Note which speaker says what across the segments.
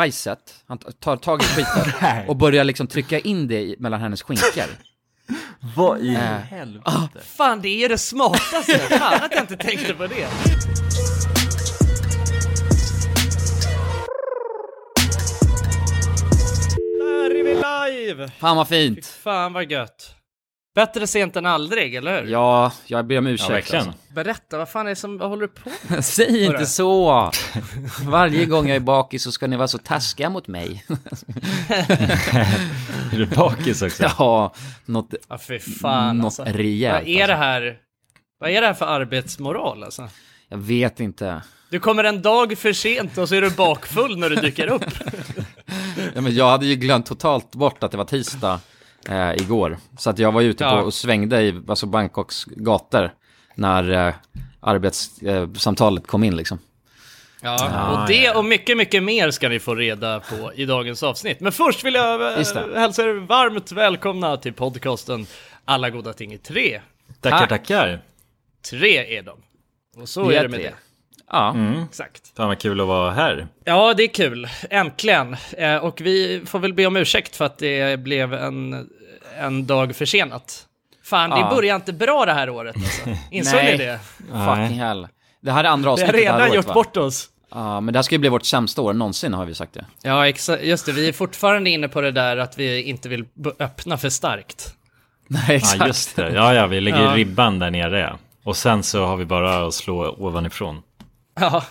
Speaker 1: bajset, han tar tag i skiten
Speaker 2: Nej.
Speaker 1: och börjar liksom trycka in det i, mellan hennes skinkor.
Speaker 2: Vad i...
Speaker 3: Ah,
Speaker 1: helvete.
Speaker 4: Fan, det är ju det smartaste. Fan att jag inte tänkte på det. Där är vi live!
Speaker 1: Fan vad
Speaker 4: Fy
Speaker 1: fint!
Speaker 4: fan vad gött. Bättre sent än aldrig, eller hur?
Speaker 1: Ja, jag ber om
Speaker 3: Ja,
Speaker 1: ursäkt.
Speaker 3: verkligen.
Speaker 1: alltså.
Speaker 4: Berätta, vad fan är det som, vad håller du på med?
Speaker 1: Säg
Speaker 4: Hörru.
Speaker 1: inte så! Varje gång jag är bakis så ska ni vara så taskiga mot mig.
Speaker 3: Är du bakis också?
Speaker 1: Ja, något,
Speaker 4: Ja, fy fan
Speaker 1: Mm, något
Speaker 4: alltså.
Speaker 1: rejält.
Speaker 4: Vad är det
Speaker 1: alltså.
Speaker 4: här? Vad är det här för arbetsmoral alltså?
Speaker 1: Jag vet inte.
Speaker 4: Du kommer en dag för sent och så är du bakfull när du dyker upp.
Speaker 1: Ja, men jag hade ju glömt totalt bort att det var tisdag eh, igår. Så att jag var ju ute på
Speaker 4: Ja.
Speaker 1: och svängde i alltså Bangkoks gator när eh, arbetssamtalet kom in liksom.
Speaker 4: Ja, och det och mycket, mycket mer ska ni få reda på i dagens avsnitt. Men först vill jag
Speaker 1: Just det.
Speaker 4: eh, hälsa er varmt välkomna till podcasten Alla goda ting i tre.
Speaker 3: Tackar,
Speaker 1: Tack.
Speaker 3: tackar.
Speaker 4: Tre är de. Och så
Speaker 1: Vi
Speaker 4: är
Speaker 1: är
Speaker 4: det med
Speaker 1: tre.
Speaker 4: det.
Speaker 1: Ja,
Speaker 4: Exakt.
Speaker 3: Fan vad kul att vara här.
Speaker 4: Ja, det är kul. Äntligen. Eh, Och vi får väl be om ursäkt för att det blev en, en dag försenat. Fan,
Speaker 1: Ja.
Speaker 4: det börjar inte bra det här året alltså. Insåg
Speaker 1: Nej.
Speaker 4: ni det?
Speaker 1: fucking hell. Det här är andra
Speaker 4: Vi
Speaker 1: avsnittet
Speaker 4: har
Speaker 1: det här
Speaker 4: redan
Speaker 1: året,
Speaker 4: gjort
Speaker 1: va?
Speaker 4: bort oss.
Speaker 1: Ja, men det här ska ju bli vårt sämsta år någonsin har vi sagt det.
Speaker 4: Ja, exa- just det. Vi är fortfarande inne på det där att vi inte vill b- öppna för starkt.
Speaker 1: Nej, exakt.
Speaker 3: Ja, just det. Ja, ja, vi lägger
Speaker 4: Ja.
Speaker 3: ribban där nere. ja. Och sen så har vi bara att slå ovanifrån.
Speaker 4: Ja.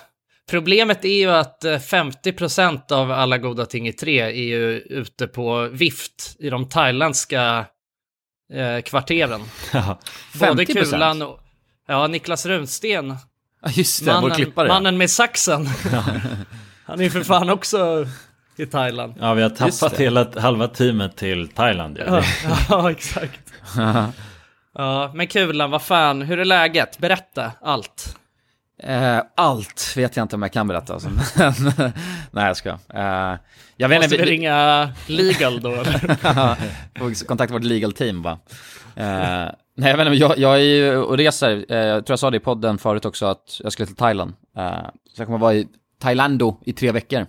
Speaker 4: Problemet är ju att eh, 50% av alla goda ting i tre är ju ute på vift i de thailändska eh, kvarteren. Både
Speaker 1: 50%?
Speaker 4: Kulan och... Ja, Niklas Runsten.
Speaker 1: Ja, just det, vår
Speaker 4: Mannen,
Speaker 1: klippare.
Speaker 4: mannen med saxen. Han är ju för fan också i Thailand.
Speaker 3: Ja, vi har
Speaker 1: Just
Speaker 3: tappat
Speaker 1: det.
Speaker 3: hela halva teamet till Thailand. ju.
Speaker 4: Ja, ja exakt. Ja, men Kulan, vad fan, hur är läget? Berätta allt.
Speaker 1: Eh, allt vet jag inte om jag kan berätta alltså. Men- Nej, jag ska. Eh, jag vet
Speaker 4: Måste
Speaker 1: inte,
Speaker 4: vi
Speaker 1: vi-
Speaker 4: ringa legal då? eller?
Speaker 1: Får kontakta vårt legal team va? Eh, nej, jag vet inte, men jag, jag är ju och reser, eh, jag tror jag sa det i podden förut också att jag skulle till Thailand. Eh, så jag kommer vara i Thailando i tre veckor.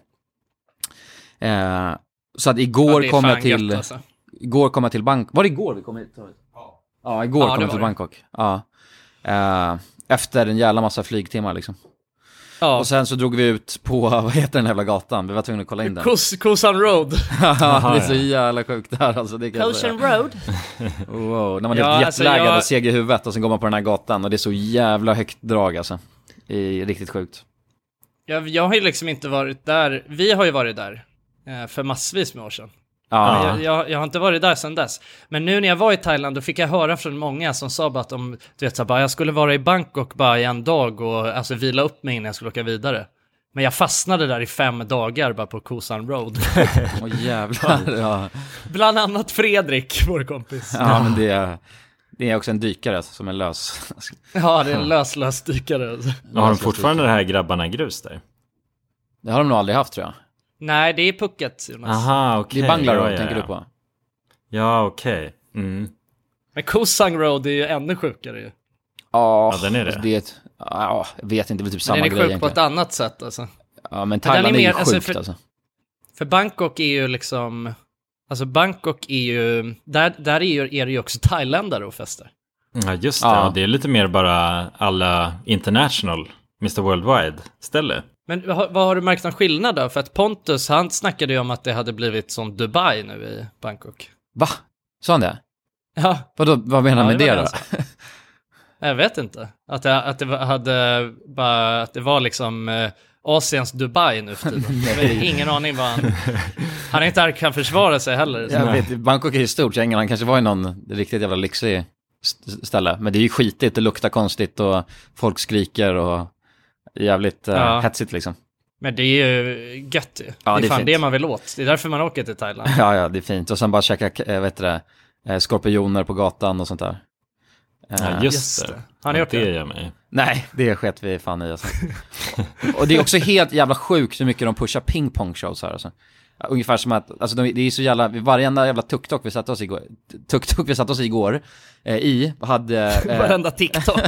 Speaker 1: Eh, så att
Speaker 4: Ja,
Speaker 1: igår
Speaker 4: det är
Speaker 1: kom
Speaker 4: fan
Speaker 1: jag till,
Speaker 4: gött, alltså.
Speaker 1: igår kom jag till Bangkok, var det igår vi kom hit? Ja, ja igår
Speaker 4: Ja, det
Speaker 1: kom jag
Speaker 4: var
Speaker 1: till
Speaker 4: det.
Speaker 1: Bangkok. Ja. Eh, efter en jävla massa flygtimmar liksom.
Speaker 4: Ja,
Speaker 1: Och sen så drog vi ut på, vad heter den jävla gatan? Vi var tvungna att kolla in den.
Speaker 4: Kos, Kosan Road.
Speaker 1: Ja, det är så
Speaker 3: ja.
Speaker 1: jävla sjukt där alltså. Det kan jag säga.
Speaker 4: Road.
Speaker 1: Wow, när man är
Speaker 4: Ja,
Speaker 1: helt
Speaker 4: alltså,
Speaker 1: jetlaggad
Speaker 4: jag-
Speaker 1: och seg i huvudet och sen går man på den här gatan och det är så jävla högt drag alltså. Det är riktigt sjukt.
Speaker 4: Jag, jag har ju liksom inte varit där. Vi har ju varit där eh, för massvis med år sedan.
Speaker 1: Ja,
Speaker 3: Ja.
Speaker 4: Jag, jag, jag har inte varit där sedan dess. Men nu när jag var i Thailand då fick jag höra från många som sa bara att de, du vet, så här, bara, jag skulle vara i Bangkok bara i en dag och alltså, vila upp mig innan jag skulle åka vidare. Men jag fastnade där i fem dagar bara på Kosan Road.
Speaker 1: åh jävlar. Ja.
Speaker 4: Bland annat Fredrik, vår kompis.
Speaker 1: ja, men det är, det är också en dykare alltså, som är lös.
Speaker 4: Ja, det är en lös, lös dykare. alltså.
Speaker 3: Och har de fortfarande det här grabbarna grus där?
Speaker 1: Det har de nog aldrig haft tror jag.
Speaker 4: Nej, det är Phuket, Jonas.
Speaker 3: Aha, okej.
Speaker 1: Det är Bangalore
Speaker 3: ja, ja,
Speaker 1: tänker
Speaker 3: ja.
Speaker 1: du på?
Speaker 3: Ja, okej. Mm.
Speaker 4: Men Kosan Road är ju ännu sjukare ju.
Speaker 1: Ja,
Speaker 3: den är det.
Speaker 1: alltså, ett, ja, jag vet inte, det är typ
Speaker 4: Men
Speaker 1: samma
Speaker 4: den är
Speaker 1: grej
Speaker 4: sjuk på
Speaker 1: egentligen.
Speaker 4: ett annat sätt alltså.
Speaker 1: Ja, men
Speaker 4: den är
Speaker 1: Thailand är,
Speaker 4: mer-
Speaker 1: ju
Speaker 4: alltså,
Speaker 1: sjukt
Speaker 4: för-
Speaker 1: alltså.
Speaker 4: För Bangkok är ju liksom, alltså Bangkok är ju, där, där är, ju, är det ju också thailändare och fester.
Speaker 3: Ja, just det.
Speaker 1: Ja.
Speaker 3: Ja, det är lite mer bara alla international, Mr Worldwide ställe.
Speaker 4: Men vad har- vad har du märkt någon skillnad då? För att Pontus, han snackade ju om att det hade blivit som Dubai nu i Bangkok.
Speaker 1: Va? Sa han det?
Speaker 4: Ja,
Speaker 1: Vadå, vad menar han
Speaker 4: Ja,
Speaker 1: med
Speaker 4: det
Speaker 1: det
Speaker 4: var
Speaker 1: då?
Speaker 4: det jag vet inte. Att det, att det var- hade, bara, att det var liksom eh, Asiens Dubai nu för tiden. Jag har ingen aning vad han, han är inte här och kan försvara sig heller. Så.
Speaker 1: Jag vet, Bangkok är ju stort, så jag har ingen- han kanske var i någon riktigt jävla lyxig st- ställe. Men det är ju skitigt, det luktar konstigt och folk skriker och jävligt eh,
Speaker 4: Ja.
Speaker 1: hetsigt liksom.
Speaker 4: Men det är ju gött ju.
Speaker 1: Ja,
Speaker 4: det
Speaker 1: det
Speaker 4: är
Speaker 1: är
Speaker 4: fan
Speaker 1: fint.
Speaker 4: det man vill åt. Det är därför man åker till Thailand.
Speaker 1: Ja, ja, det är fint. Och sen bara käka, eh, vet du det, eh, skorpioner på gatan och sånt där. Eh,
Speaker 3: Ja, just, det.
Speaker 4: Har ni
Speaker 3: Ja,
Speaker 4: gjort det?
Speaker 3: Det gör mig.
Speaker 1: Nej, det sket vi fan i alltså. Och det är också helt jävla sjukt hur mycket de pushar pingpongshows här alltså. Ungefär som att, alltså de, det är så jävla, varenda jävla tuk-tuk vi satte oss igår, tuk-tuk vi satte oss igår eh, i, hade... eh,
Speaker 4: Varenda TikTok.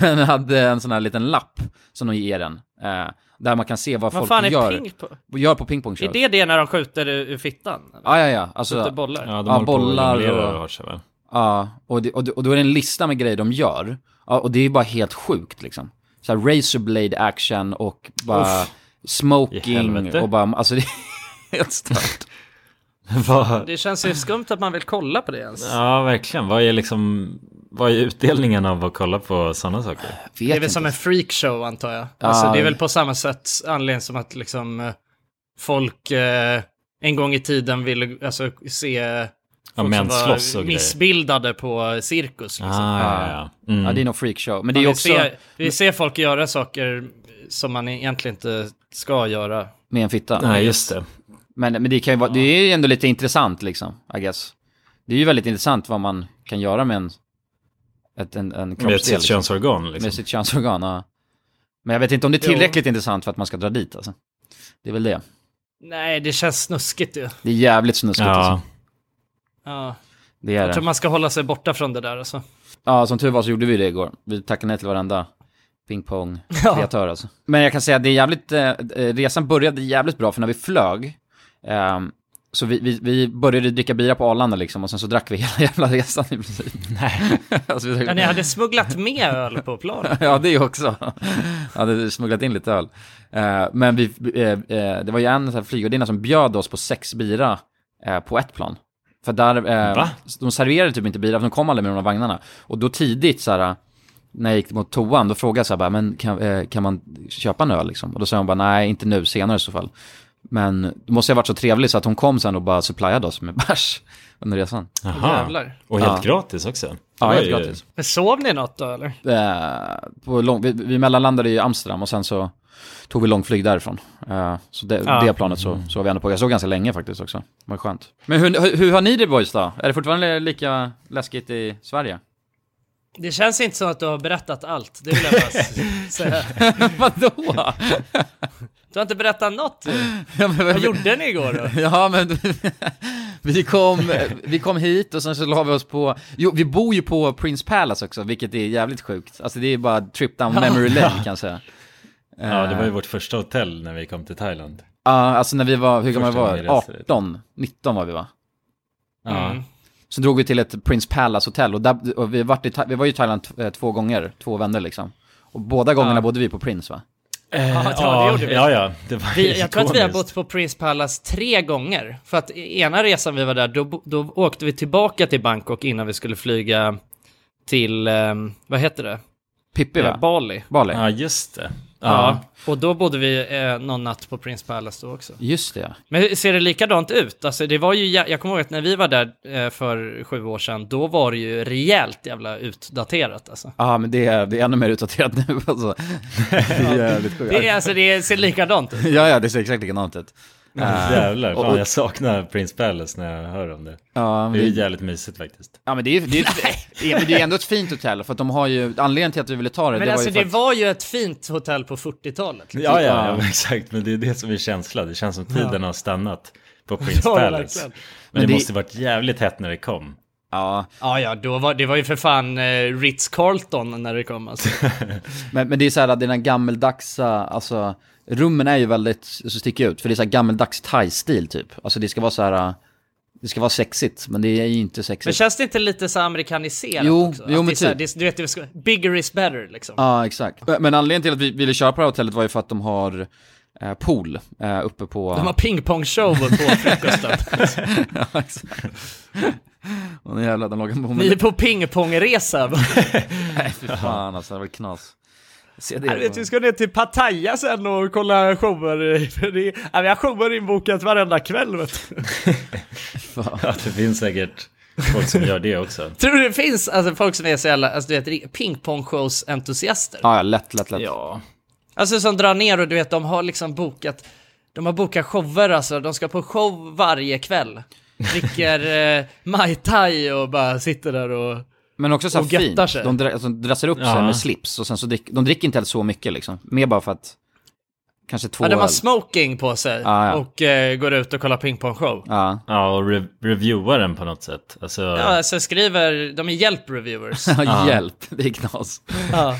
Speaker 1: men hade en sån här liten lapp som de ger en. eh, där man kan se vad,
Speaker 4: Vad
Speaker 1: folk
Speaker 4: fan är
Speaker 1: gör,
Speaker 4: ping på?
Speaker 1: gör på pingpong
Speaker 4: Är det det när de skjuter ur ur fittan? Eller?
Speaker 1: Ja, ja, ja. Alltså,
Speaker 4: Skjuter bollar?
Speaker 3: Ja, de
Speaker 1: Ja,
Speaker 3: håller på och
Speaker 1: bollar och-
Speaker 3: jonglerar och har sig väl.
Speaker 1: Ja, och, det, och, det, och då är det en lista med grejer de gör. Ja, och det är bara helt sjukt liksom. Så här razorblade action och bara
Speaker 3: Uff. I
Speaker 1: smoking
Speaker 3: helvete.
Speaker 1: och bara, alltså det är helt stört.
Speaker 3: Vad-
Speaker 4: Det känns ju skumt att man vill kolla på det ens.
Speaker 3: ja, verkligen. Vad är liksom... Vad är utdelningen av att kolla på sådana saker?
Speaker 1: Vet
Speaker 4: det är väl
Speaker 1: inte.
Speaker 4: som en freakshow antar jag. Alltså,
Speaker 1: Ja.
Speaker 4: det är väl på samma sätt anledning som att liksom eh, folk eh, en gång i tiden ville alltså, se eh,
Speaker 3: Ja,
Speaker 4: folk
Speaker 3: män
Speaker 4: som var
Speaker 3: slåss och grejer.
Speaker 4: missbildade på cirkus. Liksom.
Speaker 3: Ah, ja, ja. Mm.
Speaker 1: Ja, det är nog freakshow. Men det är
Speaker 4: Man vill
Speaker 1: också
Speaker 4: se, vi ser folk göra saker som man egentligen inte ska göra.
Speaker 1: med en fitta.
Speaker 3: Nej, just det.
Speaker 1: Men, men det kan ju vara, det är ju ändå lite intressant liksom, I guess. Det är ju väldigt intressant vad man kan göra med en, ett, en, en kroppsdel.
Speaker 3: Med sitt
Speaker 1: liksom.
Speaker 3: könsorgan liksom.
Speaker 1: Med sitt könsorgan, ja. Men jag vet inte om det är
Speaker 4: Jo.
Speaker 1: tillräckligt intressant för att man ska dra dit alltså. Det är väl det.
Speaker 4: Nej, det känns snuskigt ju.
Speaker 1: Det är jävligt snuskigt alltså.
Speaker 3: Ja,
Speaker 4: Ja.
Speaker 1: Det är
Speaker 4: Jag
Speaker 1: det.
Speaker 4: tror man ska hålla sig borta från det där alltså.
Speaker 1: Ja, som tur var så gjorde vi det igår. Vi tackade nej till varenda pingpong-kreatör alltså. Men jag kan säga att det är jävligt, eh, eh, resan började jävligt bra för när vi flög, ehm, så vi, vi, vi började dricka bira på Arlanda liksom och sen så drack vi hela jävla resan i princip. Nej. alltså, vi
Speaker 4: Ja, ni
Speaker 1: drack...
Speaker 4: hade smugglat med öl på planet.
Speaker 1: Ja, det också. Jag hade smugglat in lite öl. Eh, men vi, eh, eh, det var ju en så här flygvärdinna som bjöd oss på sex bira eh, på ett plan. För där, eh,
Speaker 3: Va?
Speaker 1: de serverade typ inte bira, för de kom aldrig med de här vagnarna. Och då tidigt så här, när jag gick mot toan, då frågade jag så här bara, men kan, eh, kan man köpa en öl liksom? Och då sa hon bara, nej inte nu, senare i så fall. Men då måste jag ha varit så trevlig så att hon kom sen och bara supplyade oss med bärs under resan.
Speaker 3: Jaha.
Speaker 4: Jävlar.
Speaker 3: Och helt
Speaker 1: Ja.
Speaker 3: gratis också. Det
Speaker 1: Ja,
Speaker 3: var
Speaker 1: helt
Speaker 3: ju-
Speaker 1: gratis.
Speaker 4: Men sov ni något då eller?
Speaker 1: Eh, på lång, vi, vi mellanlandade i Amsterdam och sen så tog vi långflyg därifrån. Eh, så det,
Speaker 4: Ja.
Speaker 1: det planet så, så var vi ändå på. Jag såg ganska länge faktiskt också. Det var skönt. Men hur, hur, hur har ni det boys då? Är det fortfarande lika läskigt i Sverige?
Speaker 4: Det känns inte som att du har berättat allt, det vill jag bara s- säga.
Speaker 1: Vadå?
Speaker 4: Du har inte berättat något. ju.
Speaker 1: ja, men,
Speaker 4: Vad gjorde ni igår då?
Speaker 1: ja, men vi, kom, vi kom hit och sen så la vi oss på... Jo, vi bor ju på Prince Palace också, vilket är jävligt sjukt. Alltså det är bara trip down memory lane kan jag säga.
Speaker 3: Ja, det var ju vårt första hotell när vi kom till Thailand.
Speaker 1: Ja, alltså när vi var, hur gamla
Speaker 3: Första
Speaker 1: var
Speaker 3: gången
Speaker 1: vi?
Speaker 3: vi reste dit.
Speaker 1: 18, 19 var vi va?
Speaker 3: Ja.
Speaker 4: Mm.
Speaker 1: Så drog vi till ett Prince Palace hotell och, där, och vi, vart i, Tha- vi var ju i Thailand t- eh, två gånger, två vänner liksom. Och båda gångerna bodde vi på Prince va?
Speaker 3: Eh,
Speaker 4: Ja, det gjorde vi.
Speaker 3: Ja, ja. Det var
Speaker 4: Vi, jag tror att vi har
Speaker 3: ikoniskt.
Speaker 4: bott på Prince Palace tre gånger. För att i ena resan vi var där, då, bo- då åkte vi tillbaka till Bangkok innan vi skulle flyga till, ehm, vad heter det?
Speaker 1: Pippi
Speaker 4: Eh,
Speaker 1: va?
Speaker 4: Bali.
Speaker 1: Bali?
Speaker 3: Ja, just det.
Speaker 4: Ja.
Speaker 3: Ja.
Speaker 4: Och då bodde vi eh, någon natt på Prince Palace då också.
Speaker 1: Just det ja.
Speaker 4: Men ser det likadant ut? Alltså det var ju, jä- jag kommer ihåg att när vi var där eh, för sju år sedan, då var det ju rejält jävla utdaterat alltså.
Speaker 1: Ja men det är, det är ännu mer utdaterat nu alltså. Det är jävligt sjukt.
Speaker 4: Det, är, alltså, det ser likadant ut.
Speaker 1: Ja ja, det ser exakt likadant ut. Eh,
Speaker 3: Jävlar,
Speaker 1: och- och-
Speaker 3: fan jag saknar Prince Palace när jag hör om det.
Speaker 1: Ja,
Speaker 3: Det är
Speaker 1: men det,
Speaker 3: jävligt mysigt faktiskt.
Speaker 1: ja, men det är ju det är, det är, men det är ändå ett fint hotell för att de har ju, anledningen till att vi ville ta det,
Speaker 4: Men
Speaker 1: det
Speaker 4: alltså
Speaker 1: var
Speaker 4: det
Speaker 1: ju för att,
Speaker 4: var ju ett fint hotell på 40-talet. liksom.
Speaker 3: Ja, ja, ja, men exakt. Men det är det som är känslan. Det känns som tiden har stannat på Prince
Speaker 4: Ja,
Speaker 3: Palace.
Speaker 4: verkligen.
Speaker 3: Men, det,
Speaker 1: det-
Speaker 3: måste varit jävligt hett när det kom.
Speaker 1: ja,
Speaker 4: Ja, ja, då var, det var ju för fan eh, Ritz-Carlton när det kom alltså.
Speaker 1: Men, men det är så här att den gammeldagsa, alltså rummen är ju väldigt, så sticker ut, för det är så här gammeldags thai-stil typ. Alltså det ska vara så här, äh, det ska vara sexigt, men det är ju inte
Speaker 4: Men
Speaker 1: sexigt.
Speaker 4: känns det inte lite så amerikaniserat
Speaker 1: Jo,
Speaker 4: också?
Speaker 1: jo, men
Speaker 4: Att det är så här,
Speaker 1: typ.
Speaker 4: det, du vet, det ska, bigger is better liksom.
Speaker 1: Ja, exakt. Men- Men anledningen till att vi ville köpa det här hotellet var ju för att de har eh, pool eh, uppe på...
Speaker 4: De har pingpongshow på frukosten.
Speaker 1: ja, exakt. Åh nej, jävlar, de lagar på
Speaker 4: Ni är
Speaker 1: med...
Speaker 4: på pingpongresa.
Speaker 1: Nej, fy fan alltså, det var knas. Se det.
Speaker 4: Jag vet, vi ska ner till Pattaya sen och kolla shower. För det är- ja, Vi har shower inbokat varenda kväll. Vet du.
Speaker 3: Ja, det finns säkert folk som gör det också.
Speaker 4: Tror du det finns alltså, folk som är så jävla, alltså, du vet, pingpongshows-entusiaster?
Speaker 1: Ja, ja, lätt, lätt, lätt.
Speaker 3: Ja.
Speaker 4: Alltså som drar ner och du vet, de har liksom bokat, de har bokat shower alltså, de ska på show varje kväll. Dricker eh, Mai Tai och bara sitter där och...
Speaker 1: Men också så här
Speaker 4: Och göttar
Speaker 1: fint.
Speaker 4: sig.
Speaker 1: De, dra- alltså, de dressar upp sig
Speaker 3: Ja.
Speaker 1: med slips och sen så drick, de dricker inte heller så mycket liksom. Mer bara för att kanske två
Speaker 4: Ja, de har
Speaker 1: öl.
Speaker 4: smoking på sig
Speaker 1: Ja, ja.
Speaker 4: och eh, går ut och kollar pingpongshow.
Speaker 1: Ja,
Speaker 3: Ja, och re- reviewa den på något sätt. Alltså,
Speaker 4: Ja, alltså skriver, de är hjälp-reviewers.
Speaker 1: Ja, hjälp, det är knas.
Speaker 4: ja.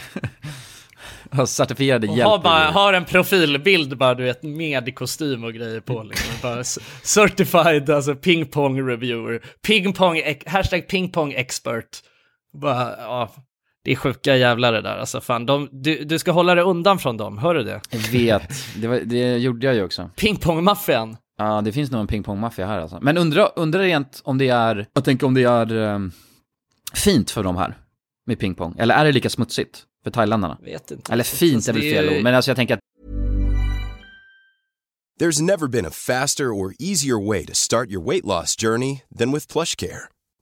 Speaker 1: har certifierade
Speaker 4: Och
Speaker 1: hjälp.
Speaker 4: har, bara,
Speaker 1: i-
Speaker 4: har en profilbild bara, du vet, med i kostym och grejer på. Liksom. Bara s- certified, alltså pingpong reviewer. Pingpong, ex- hashtag pingpong expert. Bara, ja, det är sjuka jävlar det där. Alltså, fan, de, du, du ska hålla dig undan från dem, hör du det?
Speaker 1: Jag vet, det, var, det gjorde jag ju också.
Speaker 4: Pingpongmaffian.
Speaker 1: Ja, det finns nog en pingpongmaffia här alltså. Men undra, undra rent om det är, jag tänker om det är ehm, fint för de här med pingpong. Eller är det lika smutsigt för thailändarna?
Speaker 4: Vet inte.
Speaker 1: Eller fint är väl
Speaker 4: Det är
Speaker 1: fel
Speaker 4: ju-
Speaker 1: ord, men alltså jag tänker att
Speaker 5: There's never been a faster or easier way to start your weight loss journey than with PlushCare.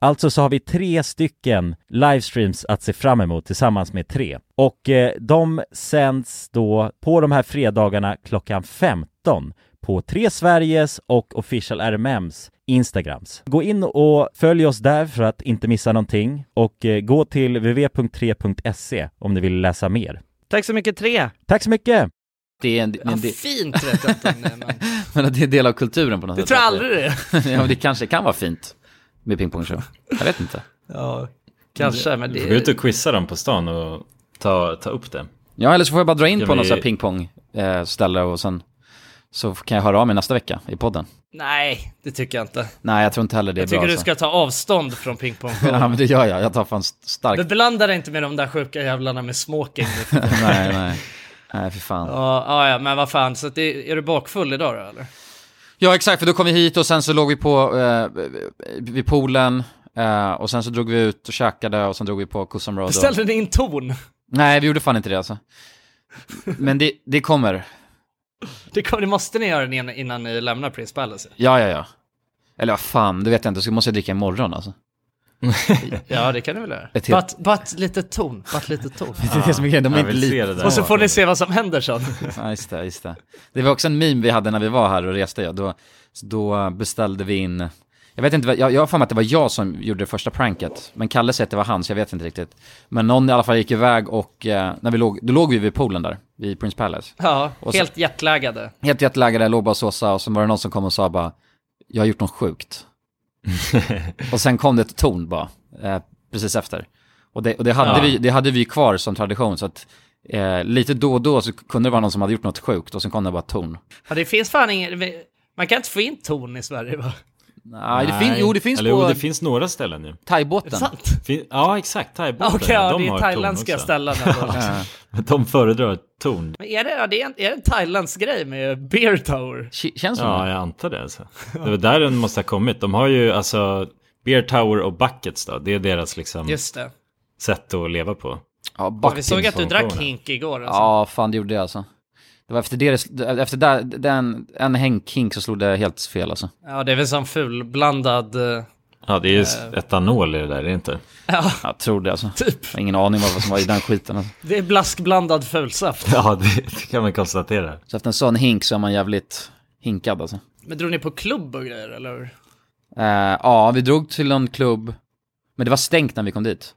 Speaker 3: Alltså så har vi tre stycken livestreams att se fram emot tillsammans med tre. Och eh, de sänds då på de här fredagarna klockan 15 på Tre Sveriges och Official RMMs Instagrams. Gå in och följ oss där för att inte missa någonting och eh, gå till www.3.se om ni vill läsa mer.
Speaker 4: Tack så mycket tre!
Speaker 3: Tack så mycket!
Speaker 1: det är en,
Speaker 4: Ja,
Speaker 1: men det,
Speaker 4: fint vet jag inte. om det, men-
Speaker 1: men att det är en del av kulturen på något
Speaker 4: Du
Speaker 1: sätt.
Speaker 4: tror aldrig det?
Speaker 1: ja, men det kanske kan vara fint med pingpongshow. Jag vet inte.
Speaker 4: Ja, kanske, men
Speaker 6: Du får gå ut
Speaker 4: det...
Speaker 6: och quizza dem på stan och ta, ta upp det.
Speaker 1: Ja, eller så får jag bara dra in
Speaker 6: Ja,
Speaker 1: på
Speaker 6: men
Speaker 1: något
Speaker 6: det-
Speaker 1: sånt pingpong eh, ställe och sen så kan jag höra av mig nästa vecka i podden.
Speaker 7: Nej, det tycker jag inte.
Speaker 1: Nej, jag tror inte heller det är
Speaker 7: Jag tycker
Speaker 1: bra.
Speaker 7: du
Speaker 1: alltså.
Speaker 7: ska ta avstånd från pingpong.
Speaker 1: Ja, men det gör jag. Jag tar fan st-
Speaker 7: Du
Speaker 1: starkt.
Speaker 7: blandar dig inte med de där sjuka jävlarna med smoking. ja,
Speaker 1: nej, nej. Nej, för fan.
Speaker 7: ja, ja, men vad fan, så att det, är du bakfull idag då eller?
Speaker 1: Ja exakt, för då kom vi hit och sen så låg vi på eh, vid poolen eh, och sen så drog vi ut och käkade och sen drog vi på Kusum Road. Och...
Speaker 7: Beställde ni in ton?
Speaker 1: Nej, vi gjorde fan inte det alltså. Men det, det kommer.
Speaker 7: Det, kom, det måste ni göra innan, innan ni lämnar Prince Palace.
Speaker 1: Ja, ja, ja. Eller vad fan, det vet jag inte. Så måste jag dricka imorgon alltså.
Speaker 7: Ja, det kan ni väl göra.
Speaker 1: Ett helt-
Speaker 7: But, but lite ton, but lite ton.
Speaker 1: Det är det som är grejen, de är
Speaker 3: Jag
Speaker 1: inte
Speaker 3: vill se
Speaker 1: lika.
Speaker 3: det där.
Speaker 7: Och så får ni se vad som händer sen.
Speaker 1: Ja, just det, just det. Det var också en meme vi hade när vi var här och reste. Ja. Då, så då beställde vi in, jag vet inte, vad- jag jag har för mig att det var jag som gjorde det första pranket. Men Kalle säger att det var han, så jag vet inte riktigt. Men någon i alla fall gick iväg och, eh, när vi låg, då låg vi vid poolen där, vid Prince Palace.
Speaker 7: Ja,
Speaker 1: Och så-
Speaker 7: helt jetlaggade.
Speaker 1: Helt jetlaggade, låg bara och såsade och så var det någon som kom och sa bara, jag har gjort något sjukt. och sen kom det ett torn bara, eh, precis efter. Och det, och det, hade
Speaker 3: Ja.
Speaker 1: vi, det hade vi kvar som tradition, så att eh, lite då och då så kunde det vara någon som hade gjort något sjukt och sen kom det bara ett torn.
Speaker 7: Ja, det finns fan ingen... Man kan inte få in ton i Sverige va?
Speaker 1: Nej, det
Speaker 3: Nej.
Speaker 1: fin- jo det finns
Speaker 3: Eller,
Speaker 1: på
Speaker 3: jo, det finns några ställen nu.
Speaker 7: Är
Speaker 1: thaibåten.
Speaker 7: det sant?
Speaker 3: Fin- ja, exakt.
Speaker 7: Ja,
Speaker 3: Thaibåten.
Speaker 7: Okej, ja,
Speaker 3: de
Speaker 7: det är
Speaker 3: har
Speaker 7: thailändska
Speaker 3: ton också.
Speaker 7: ställen. ändå, liksom.
Speaker 3: De föredrar ton.
Speaker 7: Men är det, ja, det är en, är det en thailändsk grej med beer tower?
Speaker 1: K- känns som
Speaker 3: Ja,
Speaker 1: det.
Speaker 3: jag antar det. Alltså. Det var där den måste ha kommit. De har ju alltså Beer Tower och Buckets då. Det är deras liksom
Speaker 7: Just det.
Speaker 3: sätt att leva på.
Speaker 1: Ja,
Speaker 7: Och
Speaker 1: back-
Speaker 7: vi såg att du drack
Speaker 3: Buckingformationen.
Speaker 7: hink igår. Alltså.
Speaker 1: ja, fan det gjorde jag alltså. Det var efter, det, efter där, den, en hängkink så slog det helt fel alltså.
Speaker 7: Ja, det är väl som fulblandad... eh,
Speaker 3: Ja, det är ju etanol i det där, det är inte?
Speaker 7: Ja,
Speaker 1: Jag tror det alltså. Typ. Jag har ingen aning vad som var i den skiten. Alltså.
Speaker 7: det är blaskblandad fulsaft.
Speaker 3: Ja, det, det kan man konstatera.
Speaker 1: Så efter en sån hink så är man jävligt hinkad alltså.
Speaker 7: Men drog ni på klubb och grejer, eller hur?
Speaker 1: Eh, ja, vi drog till en klubb, men det var stängt när vi kom dit.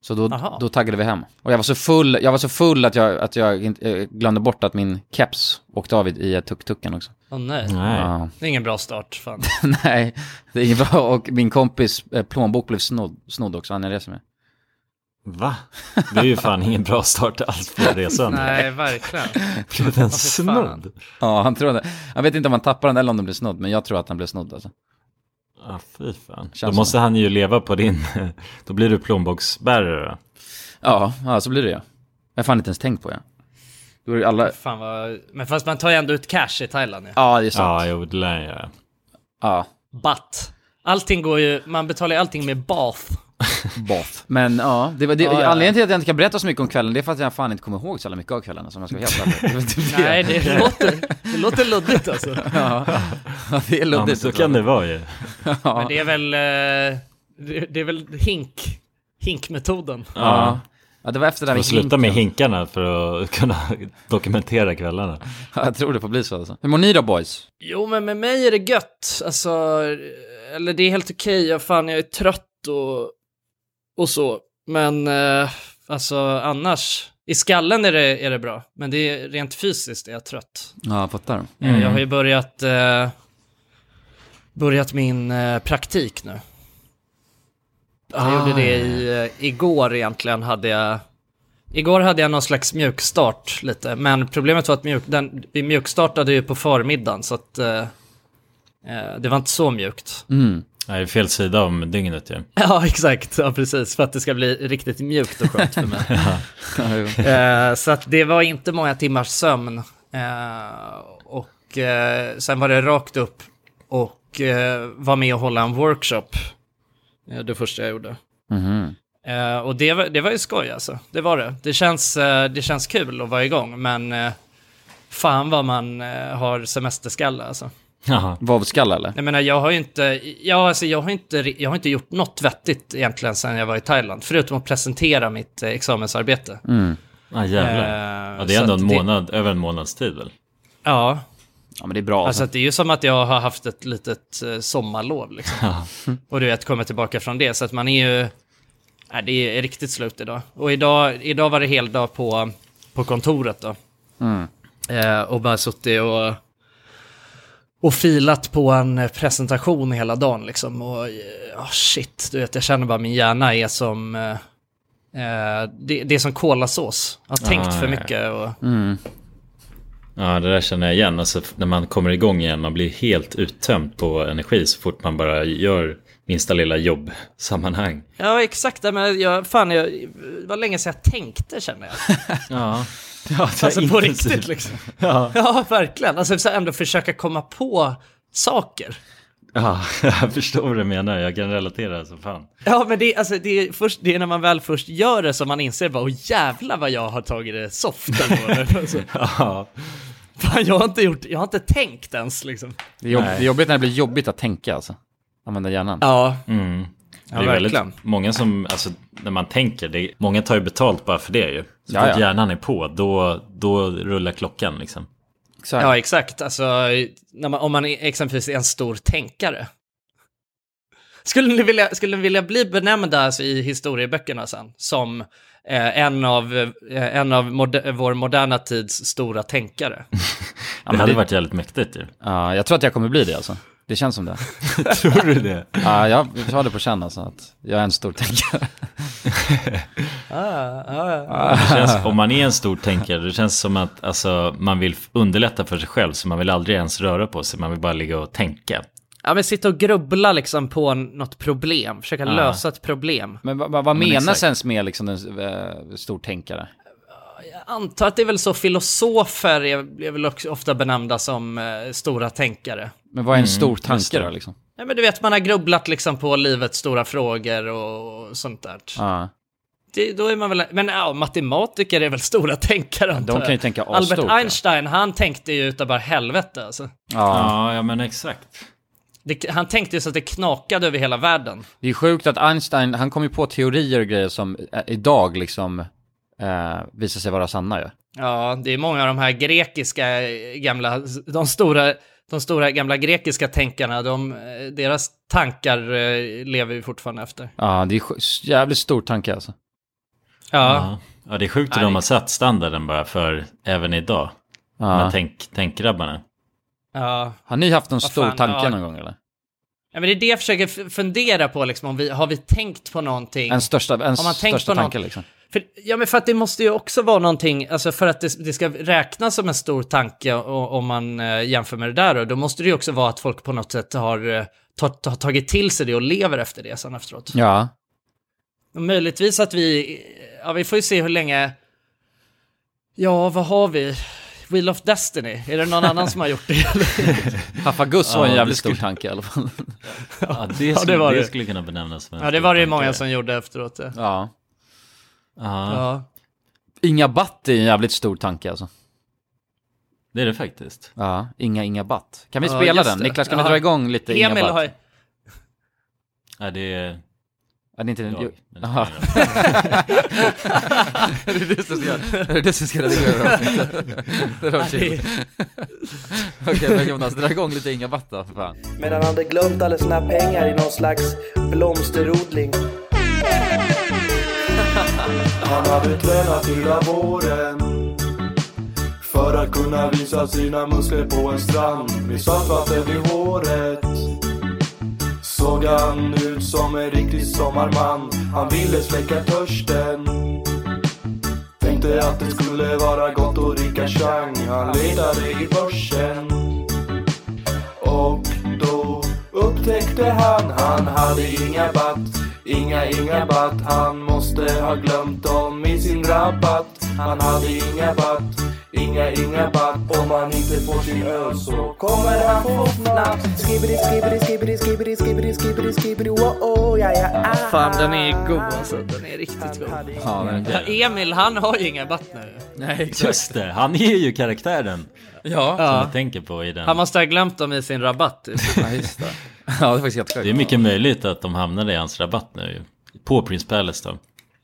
Speaker 1: Så då,
Speaker 7: Aha.
Speaker 1: då taggade vi hem. Och jag var så full, jag var så full att jag, att jag inte- eh, glömde bort att min keps åkte av i, i tuk-tuken också.
Speaker 7: Åh nej.
Speaker 3: Nej.
Speaker 1: Ja.
Speaker 7: Det är ingen bra start, fan.
Speaker 1: Nej, det är inget bra. Och min kompis eh, plånbok blev snodd, snodd också, han jag reser med.
Speaker 3: Va? Det är ju fan ingen bra start alls på resan.
Speaker 7: nej, verkligen.
Speaker 3: Blev den
Speaker 7: fy fan.
Speaker 3: snodd?
Speaker 1: Ja, han tror det. Han vet inte om han tappar den eller om den blev snodd, men jag tror att han blev snodd alltså.
Speaker 3: Ja, fy fan.
Speaker 1: Känns
Speaker 3: Då
Speaker 1: så.
Speaker 3: måste han ju leva på din... Då blir du plånboksbärare då.
Speaker 1: Ja, ja så blir det ja. Jag har fan inte ens tänkt på ja. Då är det alla...
Speaker 7: fan vad... Men fast man tar ju ändå ut cash i Thailand ju. Ja.
Speaker 1: Ja, det är sant.
Speaker 3: Ja, jo, det lär jag göra.
Speaker 1: Ja,
Speaker 7: But. Allting går ju... Man betalar ju allting med bath.
Speaker 1: boff. Men ja, det var det,
Speaker 7: Ja, ja.
Speaker 1: anledningen till att jag inte kan berätta så mycket om kvällen, det är för att jag fan inte kommer ihåg så jävla mycket av kvällen, alltså, om jag ska vara helt ärlig. Det är
Speaker 7: Nej, det låter, det låter luddigt alltså.
Speaker 1: Ja, det är
Speaker 3: Ja, men
Speaker 1: luddigt.
Speaker 3: så kan det vara ju.
Speaker 7: Men det är väl... eh, Det, det är väl hink. Hinkmetoden.
Speaker 1: Ja. ja, det var efter det där
Speaker 3: Och sluta med hinkarna för att kunna dokumentera kvällarna.
Speaker 1: Ja, jag tror det får bli så alltså. Hur mår ni då boys?
Speaker 7: Jo, men med mig är det gött. Alltså, eller det är helt okej. Jag, fan, jag är trött och, och så. Men eh, alltså annars, i skallen är det, är det bra. Men det är, rent fysiskt är jag trött.
Speaker 1: Ja, jag fattar.
Speaker 7: Eh, Jag har ju börjat, eh, börjat min eh, praktik nu. Jag gjorde det i, eh, igår egentligen. Hade jag, igår hade jag någon slags mjukstart lite. Men problemet var att mjuk, den, vi mjukstartade ju på förmiddagen. Så att eh, eh, det var inte så mjukt.
Speaker 3: Nej, det är fel sida om dygnet ju.
Speaker 7: Ja, exakt. Ja, precis. För att det ska bli riktigt mjukt och skönt för mig.
Speaker 1: Ja, jo.
Speaker 7: Eh, så att det var inte många timmars sömn. Eh, och eh, sen var det rakt upp och eh, var med och hålla en workshop. Eh, det första jag gjorde.
Speaker 1: Mhm.
Speaker 7: Eh, och det var, det var ju skoj alltså. Det var det. Det känns, eh, det känns kul att vara igång, men eh, fan vad man eh, har semesterskalle alltså.
Speaker 3: Jaha.
Speaker 1: Vovvskalle eller?
Speaker 7: Jag menar, jag har ju inte, ja, alltså, jag har inte, jag har inte gjort något vettigt egentligen sedan jag var i Thailand, förutom att presentera mitt eh, examensarbete.
Speaker 3: Ja, Ah, jävlar.
Speaker 7: Eh,
Speaker 3: Mm. Ja, det
Speaker 7: så
Speaker 3: är ändå en
Speaker 7: att det-
Speaker 3: månad, över en månads tid väl?
Speaker 7: Ja,
Speaker 1: Ja men det är bra
Speaker 7: Alltså
Speaker 1: alltså.
Speaker 7: att det är ju som att jag har haft ett litet eh, sommarlov liksom. Och du vet, kommer tillbaka från det. Så att man är ju... Nej, det är riktigt slut idag. Och idag, idag var det heldag på, på kontoret då.
Speaker 3: Mm.
Speaker 7: Eh, och bara suttit och, och filat på en eh, presentation hela dagen liksom. Och eh, ah, shit, du vet, jag känner bara min hjärna är som... Eh, eh, det, det är som kolasås. Jag har tänkt för mycket och...
Speaker 3: Ja, det där känner jag igen. Alltså, när man kommer igång igen, man blir helt uttömd på energi så fort man bara gör minsta lilla jobbsammanhang.
Speaker 4: Ja, exakt. Ja, Men jag, fan, jag, det var länge sedan jag tänkte känner jag.
Speaker 3: Ja,
Speaker 4: Alltså på riktigt liksom. Ja, verkligen. Alltså så här, ändå försöka komma på saker.
Speaker 3: ja jag förstår vad du menar. Jag kan relatera som fan.
Speaker 4: Ja, men det, är- alltså, det, är först, det är när man väl först gör det som man inser bara, åh jävlar vad jag har tagit det soft ändå." alltså,
Speaker 3: Ja,
Speaker 4: Fan, jag har inte gjort, jag har inte tänkt ens liksom.
Speaker 1: Det är, jobb, det
Speaker 3: Nej.
Speaker 1: är jobbigt när det blir jobbigt att tänka alltså. Använda hjärnan.
Speaker 4: Ja,
Speaker 3: mm.
Speaker 4: ja
Speaker 3: det är väldigt
Speaker 4: verkligen.
Speaker 3: många som, alltså när man tänker, det, många tar ju betalt bara för det ju. Så
Speaker 1: Ja,
Speaker 3: fort
Speaker 1: ja.
Speaker 3: hjärnan är på, då, då rullar klockan liksom.
Speaker 1: Exakt.
Speaker 4: Ja, exakt. Alltså, när man, om man är exempelvis är en stor tänkare. Skulle ni vilja, skulle ni vilja bli benämnda alltså, i historieböckerna sen som eh, en av, eh, en av moder- vår moderna tids stora tänkare?
Speaker 1: Ja,
Speaker 3: det
Speaker 1: men
Speaker 3: hade
Speaker 1: det-
Speaker 3: varit jävligt mäktigt ju.
Speaker 1: Ja, jag tror att jag kommer bli det alltså. Det känns som det.
Speaker 3: Tror du det?
Speaker 1: Ja, jag har det på känn alltså att jag är en stor tänkare.
Speaker 3: Det känns, om man är en stor tänkare, det känns som att alltså, man vill underlätta för sig själv. Så man vill aldrig ens röra på sig, man vill bara ligga och tänka.
Speaker 4: Ja, men sitta och grubbla liksom på en- något problem, försöka lösa ett problem.
Speaker 1: Men vad, vad- vad
Speaker 3: men
Speaker 1: menas
Speaker 3: exakt.
Speaker 1: ens med liksom en eh, stor tänkare?
Speaker 4: Jag antar att det är väl så filosofer är, är väl också ofta benämnda som eh, stora tänkare.
Speaker 1: Men vad är en stor
Speaker 3: just
Speaker 1: tanke
Speaker 3: det.
Speaker 1: då liksom?
Speaker 4: Nej, men du vet, man har grubblat liksom på livets stora frågor och sånt där.
Speaker 1: Ja,
Speaker 4: Det, då är man väl, men ja, matematiker är väl stora tänkare antar
Speaker 1: de kan ju
Speaker 4: jag.
Speaker 1: tänka asstort.
Speaker 4: Albert
Speaker 1: ja.
Speaker 4: Einstein, han tänkte ju utav bara helvete alltså.
Speaker 1: Ja.
Speaker 3: Ja, ja men exakt.
Speaker 4: det, Han tänkte ju så att det knakade över hela världen.
Speaker 1: Det är sjukt att Einstein, han kom ju på teorier och grejer som eh, idag liksom eh, visar sig vara sanna ju.
Speaker 4: Ja, det är många av de här grekiska eh, gamla, de stora, de stora gamla grekiska tänkarna, de, eh, deras tankar eh, lever ju fortfarande efter.
Speaker 1: Ja, det är sj- jävligt stor tanke alltså.
Speaker 4: Ja,
Speaker 3: Ja. ja, det är sjukt hur de har satt standarden bara för även idag.
Speaker 1: Ja.
Speaker 3: Men tänk, tänk grabbarna.
Speaker 4: ja.
Speaker 1: Har ni haft någon
Speaker 4: Vad
Speaker 1: stor
Speaker 4: fan,
Speaker 1: tanke
Speaker 4: ja.
Speaker 1: någon gång eller?
Speaker 4: ja men det är det jag försöker f- fundera på, liksom, om vi, har vi tänkt på någonting?
Speaker 1: En största, en
Speaker 4: man tänkt
Speaker 1: största
Speaker 4: på någon-
Speaker 1: tanke liksom.
Speaker 4: För, ja, men för att det måste ju också vara någonting, alltså för att det, det ska räknas som en stor tanke o- om man eh, jämför med det där, då, då måste det ju också vara att folk på något sätt har eh, ta, ta, tagit till sig det och lever efter det sen efteråt.
Speaker 1: Ja.
Speaker 4: Och möjligtvis att vi, ja vi får ju se hur länge, ja vad har vi? Wheel of Destiny, är det någon annan som har gjort det?
Speaker 1: Hafagus var en
Speaker 3: Ja,
Speaker 1: jävligt
Speaker 3: det skulle-
Speaker 1: stor tanke i alla fall.
Speaker 3: Ja, det,
Speaker 4: det
Speaker 3: skulle,
Speaker 4: var
Speaker 3: det.
Speaker 4: det.
Speaker 3: skulle kunna benämnas som en
Speaker 4: ja det
Speaker 3: stor
Speaker 4: var det ju
Speaker 3: tanke.
Speaker 4: många som gjorde efteråt. Ja.
Speaker 1: Ja.
Speaker 3: Ja,
Speaker 4: Ja.
Speaker 1: Inga Batt är en jävligt stor tanke alltså.
Speaker 3: det är det faktiskt.
Speaker 1: Ja, Inga Inga Batt. Kan vi
Speaker 4: Ja,
Speaker 1: spela
Speaker 4: just
Speaker 1: den?
Speaker 4: det.
Speaker 1: Niklas, kan du
Speaker 4: Ja.
Speaker 1: dra igång lite Inga
Speaker 4: Emil
Speaker 1: Batt?
Speaker 4: har ju,
Speaker 3: Ja, det är
Speaker 1: Ja, det är inte den...
Speaker 3: jag.
Speaker 1: Jo.
Speaker 3: Men det
Speaker 1: Jaha.
Speaker 3: spelar
Speaker 1: är det du som ska... Är det du som ska redigera avsnittet? Det var chill. Okej, men Jonas, dra igång lite Inga Batt då, för fan.
Speaker 8: Medan han hade glömt alla sina pengar i någon slags blomsterodling. Han hade tränat hela våren för att kunna visa sina muskler på en strand med saltvatten vid håret. Såg han ut som en riktig sommarman, han ville släcka törsten. Tänkte att det skulle vara gott och rika chang, han letade i börsen. Och då upptäckte han, han hade inga batt, inga inga batt. Han måste ha glömt dem i sin rabatt. Han hade inga batt, inga inga batt. Om han inte får sin öl så kommer han få fnatt.
Speaker 9: Skibbidi, skibbidi, skibbidi, skibbidi, skibbidi, skibbidi, skibbidi, wow, ja, ja, ah.
Speaker 4: fan den är god alltså, den är riktigt god.
Speaker 1: Ja, men...
Speaker 4: Ja, Emil han har ju inga batt nu.
Speaker 1: Nej,
Speaker 3: det. Just det, han är ju karaktären
Speaker 1: Ja.
Speaker 3: som
Speaker 4: Ja.
Speaker 3: jag tänker på i den.
Speaker 4: Han måste ha glömt dem i sin rabatt. typ.
Speaker 1: ja, just det. Ja, det är faktiskt helt sjukt.
Speaker 3: Det är mycket möjligt att de hamnade i hans rabatt nu ju. På Prince Palace då.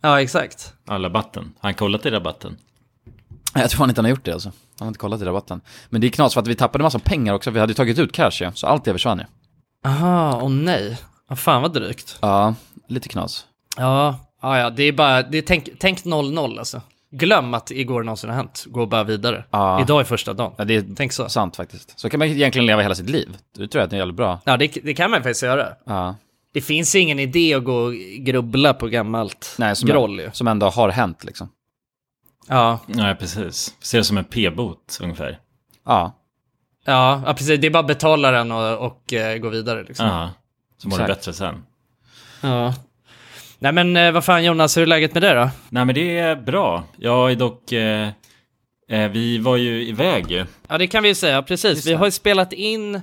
Speaker 4: Ja, exakt.
Speaker 3: Ja, rabatten. Har han kollat i rabatten?
Speaker 1: Jag tror fan inte han har gjort det alltså. Han har inte kollat i rabatten. Men det är knas för att vi tappade massa pengar också. Vi hade ju tagit ut cash ju, så allt det försvann ju.
Speaker 4: Aha, och nej. Ja, fan vad drygt.
Speaker 1: Ja, lite knas.
Speaker 4: Ja, ja, ja det är bara, det är, tänk, tänk 0-0 alltså. Glöm att igår någonsin har hänt, gå bara vidare.
Speaker 1: Ja.
Speaker 4: Idag är första dagen.
Speaker 1: Ja, det är
Speaker 4: Tänk så.
Speaker 1: sant faktiskt. Så kan man egentligen leva hela sitt liv. Det tror jag att det är jävligt bra.
Speaker 4: Ja, det, det kan man faktiskt göra.
Speaker 1: Ja.
Speaker 4: Det finns ju ingen idé att gå och grubbla på gammalt
Speaker 1: Nej, som,
Speaker 4: groll ju.
Speaker 1: som ändå har hänt liksom.
Speaker 4: Ja,
Speaker 3: Nej, precis. Ser det som en p-bot ungefär.
Speaker 1: Ja.
Speaker 4: Ja, ja, precis. Det är bara betala den och, och eh, gå vidare. Liksom.
Speaker 3: Ja, så mår du
Speaker 1: Exakt.
Speaker 3: bättre sen.
Speaker 4: Ja. Nej men eh, vad fan Jonas, hur är läget med dig då?
Speaker 3: Nej men det är bra. Jag är dock... Eh, eh, vi var ju iväg ju.
Speaker 4: Ja det kan vi ju säga, precis. Vi har ju spelat in, eh,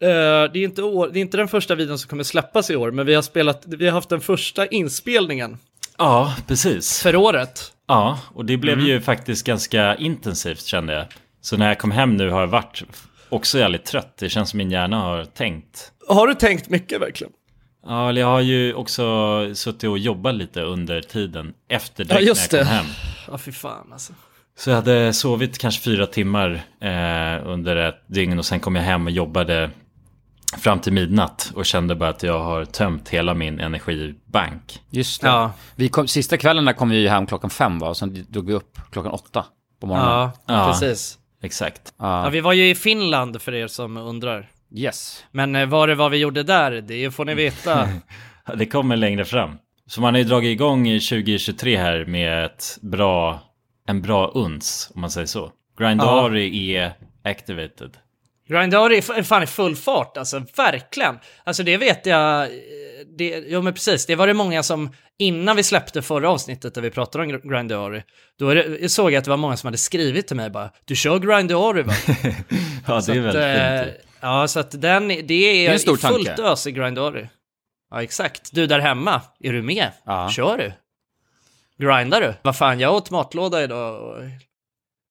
Speaker 4: det, är inte år, det är inte den första videon som kommer släppas i år, men vi har, spelat, vi har haft den första inspelningen
Speaker 3: Ja, precis. Mm.
Speaker 4: för året.
Speaker 3: Ja, och det blev ju faktiskt ganska intensivt kände jag. Så när jag kom hem nu har jag varit också jävligt trött. Det känns som min hjärna har tänkt.
Speaker 4: Har du tänkt mycket verkligen?
Speaker 3: Ja, eller jag har ju också suttit och jobbat lite under tiden efter
Speaker 4: Ja,
Speaker 3: direkt
Speaker 4: just
Speaker 3: när jag kom
Speaker 4: det.
Speaker 3: hem.
Speaker 4: Ja fy fan alltså.
Speaker 3: Så jag hade sovit kanske fyra timmar eh, under ett dygn och sen kom jag hem och jobbade fram till midnatt och kände bara att jag har tömt hela min energibank.
Speaker 1: Just det.
Speaker 4: Ja,
Speaker 1: Vi kom, sista kvällen där kom vi ju hem klockan fem va, och sen drog vi upp klockan åtta på morgonen.
Speaker 4: ja,
Speaker 3: Ja.
Speaker 4: precis.
Speaker 3: Exakt.
Speaker 4: Ja, vi var ju i Finland för er som undrar.
Speaker 1: Yes.
Speaker 4: Men eh, vad det var vi gjorde där, det får ni veta.
Speaker 3: Det kommer längre fram. Så man har ju dragit igång i 2023 här med ett bra, en bra uns, om man säger så. Grindari är activated.
Speaker 4: Grindari är f- fan i full fart alltså, verkligen. Alltså det vet jag, eh, det, jo men precis, det var det många som, innan vi släppte förra avsnittet där vi pratade om Gr- Grindari, då är det, jag såg jag att det var många som hade skrivit till mig bara, du kör Grindari va?
Speaker 3: Ja, det är
Speaker 4: att,
Speaker 3: väldigt
Speaker 4: eh,
Speaker 3: fint.
Speaker 4: Ja, så att den, det är, det
Speaker 1: typ. är en stor
Speaker 4: fullt
Speaker 1: tanke.
Speaker 4: ös i Grindari. Ja, exakt. Du där hemma, är du med?
Speaker 1: Ja.
Speaker 4: Kör du? Grindar du? Vad fan, jag åt matlåda idag och